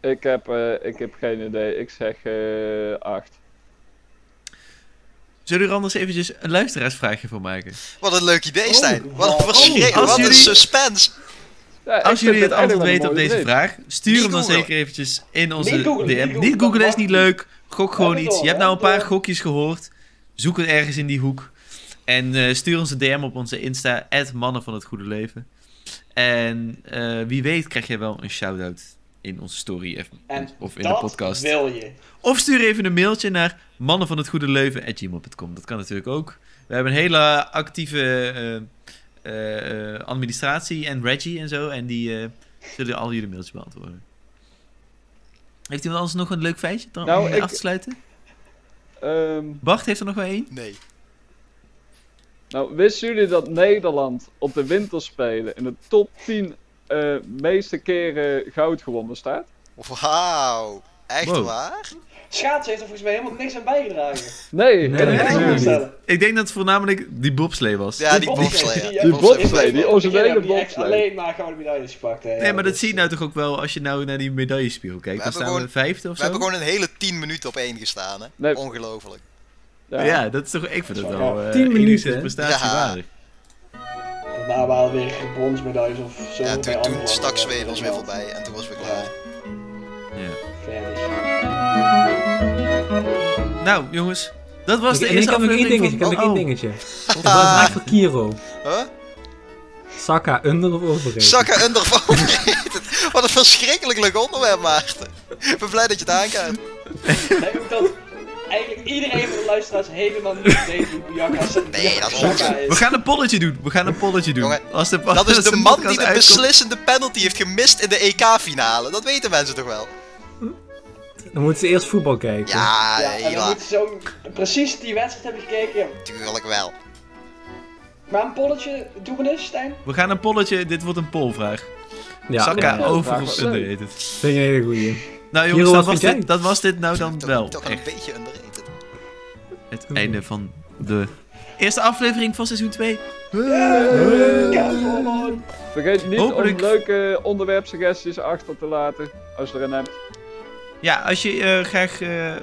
[SPEAKER 4] ik heb, eh, ik heb geen idee. Ik zeg eh acht.
[SPEAKER 5] Zullen we er anders eventjes een luisteraarsvraagje voor maken?
[SPEAKER 3] Wat een leuk idee, Stijn.
[SPEAKER 6] Oh,
[SPEAKER 3] wat een,
[SPEAKER 6] oh,
[SPEAKER 3] verschrik-
[SPEAKER 5] als
[SPEAKER 3] wat een
[SPEAKER 5] jullie-
[SPEAKER 3] suspense.
[SPEAKER 4] Ja, ik
[SPEAKER 5] Als
[SPEAKER 4] vind
[SPEAKER 5] jullie het
[SPEAKER 4] eigenlijk
[SPEAKER 5] antwoord
[SPEAKER 4] wel een
[SPEAKER 5] weten op
[SPEAKER 4] mooie
[SPEAKER 5] deze
[SPEAKER 4] idee.
[SPEAKER 5] vraag, stuur
[SPEAKER 3] Niet
[SPEAKER 5] hem dan
[SPEAKER 3] googlen.
[SPEAKER 5] zeker eventjes in onze
[SPEAKER 6] Niet googlen, niet
[SPEAKER 5] DM.
[SPEAKER 6] googlen,
[SPEAKER 5] Niet googlen is
[SPEAKER 6] dat
[SPEAKER 5] niet
[SPEAKER 6] mag
[SPEAKER 5] leuk. Gok gewoon
[SPEAKER 6] Ja, dat
[SPEAKER 5] iets. Je
[SPEAKER 6] wel,
[SPEAKER 5] hebt nou een
[SPEAKER 6] dat
[SPEAKER 5] paar
[SPEAKER 6] wel.
[SPEAKER 5] gokjes gehoord. Zoek het ergens in die hoek. En eh, stuur ons een DM op onze Insta, mannen van het goede leven. En eh, wie weet krijg jij wel een shout-out in onze story of-
[SPEAKER 6] En
[SPEAKER 5] of in de
[SPEAKER 6] dat
[SPEAKER 5] podcast.
[SPEAKER 6] wil je.
[SPEAKER 5] Of stuur even een mailtje naar mannen van het goede leven@gmail.com. Dat kan natuurlijk ook. We hebben een hele actieve eh, eh, eh, administratie en Reggie en zo. En die eh, zullen al jullie mailtjes beantwoorden. Heeft iemand anders nog een leuk feitje dan,
[SPEAKER 4] Nou,
[SPEAKER 5] om mee
[SPEAKER 4] ik-
[SPEAKER 5] af te sluiten?
[SPEAKER 4] Ehm,
[SPEAKER 5] Bart heeft er nog wel één.
[SPEAKER 3] Nee.
[SPEAKER 4] Nou, wisten jullie dat Nederland op de winterspelen in de top 10 eh, meeste keren goud gewonnen staat?
[SPEAKER 3] Oh, Wauw. Echt
[SPEAKER 5] Wow.
[SPEAKER 3] waar?
[SPEAKER 6] Schaats heeft er volgens mij helemaal niks aan bijgedragen.
[SPEAKER 4] Nee,
[SPEAKER 2] Nee,
[SPEAKER 4] kan ik
[SPEAKER 5] nee,
[SPEAKER 4] me
[SPEAKER 5] nee,
[SPEAKER 4] niet
[SPEAKER 5] nee.
[SPEAKER 4] voorstellen.
[SPEAKER 5] Ik denk dat het voornamelijk die bobslee was.
[SPEAKER 3] Ja, die
[SPEAKER 6] Die
[SPEAKER 3] bobslee.
[SPEAKER 6] bobslee,
[SPEAKER 3] ja.
[SPEAKER 6] die
[SPEAKER 4] Die bobslee, die originele
[SPEAKER 6] hebben die echt
[SPEAKER 4] bobslee.
[SPEAKER 6] alleen maar gouden medailles gepakt. hè.
[SPEAKER 5] nee, maar dat zie je nou toch ook wel als je nou naar die medaillespiegel kijkt.
[SPEAKER 3] We
[SPEAKER 5] Dan staan
[SPEAKER 3] hebben
[SPEAKER 5] we vijfde of
[SPEAKER 3] We
[SPEAKER 5] zo.
[SPEAKER 3] hebben gewoon een hele 10 minuten op één gestaan, hè?
[SPEAKER 4] Nee.
[SPEAKER 3] Ongelooflijk.
[SPEAKER 5] ja.
[SPEAKER 4] Ja.
[SPEAKER 5] dat is toch... Ik vind
[SPEAKER 6] Dat
[SPEAKER 5] dat
[SPEAKER 6] is wel
[SPEAKER 5] wel
[SPEAKER 6] gaaf.
[SPEAKER 5] eh
[SPEAKER 2] Tien minuten,
[SPEAKER 5] enigszins
[SPEAKER 2] hè?
[SPEAKER 5] prestatie
[SPEAKER 3] Ja.
[SPEAKER 5] waardig.
[SPEAKER 6] Daarna waren weer brons medailles of zo.
[SPEAKER 3] Ja,
[SPEAKER 6] bij
[SPEAKER 3] toen,
[SPEAKER 6] andere
[SPEAKER 3] toen stak
[SPEAKER 6] landen.
[SPEAKER 3] Zweden ons weer voorbij en toen was we klaar.
[SPEAKER 5] Ja.
[SPEAKER 6] Verder.
[SPEAKER 5] Nou, jongens, dat was de
[SPEAKER 2] en ik
[SPEAKER 5] eerste
[SPEAKER 2] heb nog één
[SPEAKER 5] aflevering
[SPEAKER 2] dingetje, ik heb
[SPEAKER 5] van... Oh.
[SPEAKER 2] nog één dingetje. Wat vraag voor Kiro?
[SPEAKER 3] Huh?
[SPEAKER 2] Saka under of overrated?
[SPEAKER 3] Zakken under van overrated. Wat een verschrikkelijk leuk onderwerp, Maarten. Ik ben blij dat je het aankaart.
[SPEAKER 6] Nee, ook dat eigenlijk iedereen van de luisteraars helemaal niet weet hoe Bianca Sa-
[SPEAKER 3] Nee, dat is
[SPEAKER 6] Bianca
[SPEAKER 3] onzin.
[SPEAKER 5] We gaan een polletje doen, we gaan een polletje doen.
[SPEAKER 3] Jongen,
[SPEAKER 5] als de,
[SPEAKER 3] Dat is
[SPEAKER 5] als
[SPEAKER 3] de man die
[SPEAKER 5] podcast
[SPEAKER 3] de
[SPEAKER 5] uitkomt-
[SPEAKER 3] beslissende penalty heeft gemist in de EK-finale. Dat weten mensen toch wel?
[SPEAKER 2] Dan moeten ze eerst voetbal kijken.
[SPEAKER 3] Ja,
[SPEAKER 6] Ja, en dan
[SPEAKER 3] ja,
[SPEAKER 6] moet je zo precies die wedstrijd hebben gekeken.
[SPEAKER 3] tuurlijk wel.
[SPEAKER 6] Maar een polletje doen we dus, Stijn?
[SPEAKER 5] We gaan een polletje, dit wordt een polvraag.
[SPEAKER 2] ja
[SPEAKER 5] Saka,
[SPEAKER 2] ja,
[SPEAKER 5] over
[SPEAKER 4] Wat
[SPEAKER 5] of
[SPEAKER 4] leuk.
[SPEAKER 5] underrated.
[SPEAKER 2] Dat vind ik een hele goeie.
[SPEAKER 5] Nou
[SPEAKER 2] Jeroen,
[SPEAKER 5] jongens,
[SPEAKER 2] wat
[SPEAKER 5] dat
[SPEAKER 2] vind
[SPEAKER 5] was,
[SPEAKER 2] jij?
[SPEAKER 5] dit, dat was dit nou dan
[SPEAKER 3] Toch-
[SPEAKER 5] wel.
[SPEAKER 3] Toch een
[SPEAKER 5] Echt
[SPEAKER 3] beetje underrated.
[SPEAKER 5] het einde van de Eerste aflevering van seizoen 2.
[SPEAKER 6] Come on.
[SPEAKER 4] Vergeet niet
[SPEAKER 5] Hopelijk-
[SPEAKER 4] om leuke onderwerpsuggesties achter te laten. Als je er een hebt.
[SPEAKER 5] Ja, als je eh, graag eh,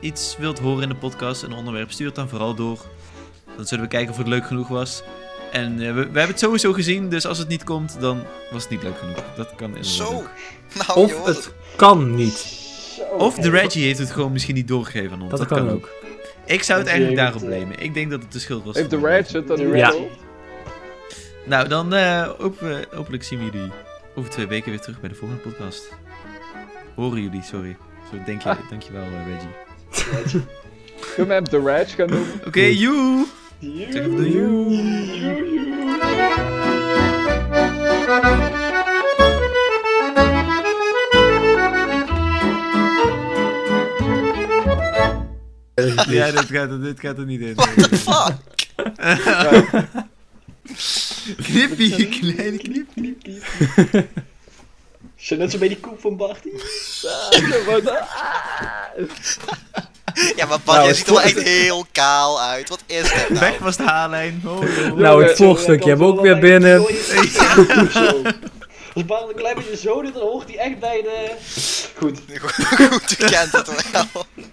[SPEAKER 5] iets wilt horen in de podcast, een onderwerp, stuur het dan vooral door. Dan zullen we kijken of het leuk genoeg was. En eh, we, we hebben het sowieso gezien, dus als het niet komt, dan was het niet leuk genoeg. Dat kan inderdaad.
[SPEAKER 3] Zo.
[SPEAKER 5] ook.
[SPEAKER 3] Nou, je
[SPEAKER 2] Of
[SPEAKER 3] hoort het.
[SPEAKER 2] het kan niet.
[SPEAKER 6] Zo.
[SPEAKER 5] Of de Reggie heeft het gewoon misschien niet doorgegeven aan ons.
[SPEAKER 2] Dat,
[SPEAKER 5] Dat,
[SPEAKER 2] kan ook.
[SPEAKER 5] Ik zou het
[SPEAKER 6] Want die
[SPEAKER 5] eigenlijk
[SPEAKER 6] heeft,
[SPEAKER 5] daarop
[SPEAKER 6] eh,
[SPEAKER 5] blamen. Ik denk dat het de schuld was.
[SPEAKER 4] Heeft de
[SPEAKER 5] van
[SPEAKER 4] Rats het dan
[SPEAKER 6] De
[SPEAKER 4] niet
[SPEAKER 2] Rats.
[SPEAKER 4] gehoord?
[SPEAKER 5] Nou, dan eh, hoop- eh, hopelijk zien we jullie over twee weken weer terug bij de volgende podcast. Horen jullie, sorry. Zo, denk je, Dankjewel, eh, Reggie.
[SPEAKER 4] Kunnen we hem de Rats gaan noemen?
[SPEAKER 5] Oké, joe! Zeg even doei. Ja, dit gaat, er- dit gaat er niet in.
[SPEAKER 3] Fuck.
[SPEAKER 5] Knippie, kleine knip.
[SPEAKER 6] Zijn net zo bij die koep van Barty?
[SPEAKER 3] Ja, maar Bart, jij ziet er wel echt heel kaal uit. Wat is dit nou?
[SPEAKER 5] Weg was de haarlijn. Oh, joh.
[SPEAKER 2] Nou,
[SPEAKER 4] Jongen,
[SPEAKER 2] het volgstukje hebben we ook weer binnen.
[SPEAKER 6] Als Bart een klein beetje zo doet, dan hoort hij echt bij de... Goed.
[SPEAKER 3] Goed, je kent het wel.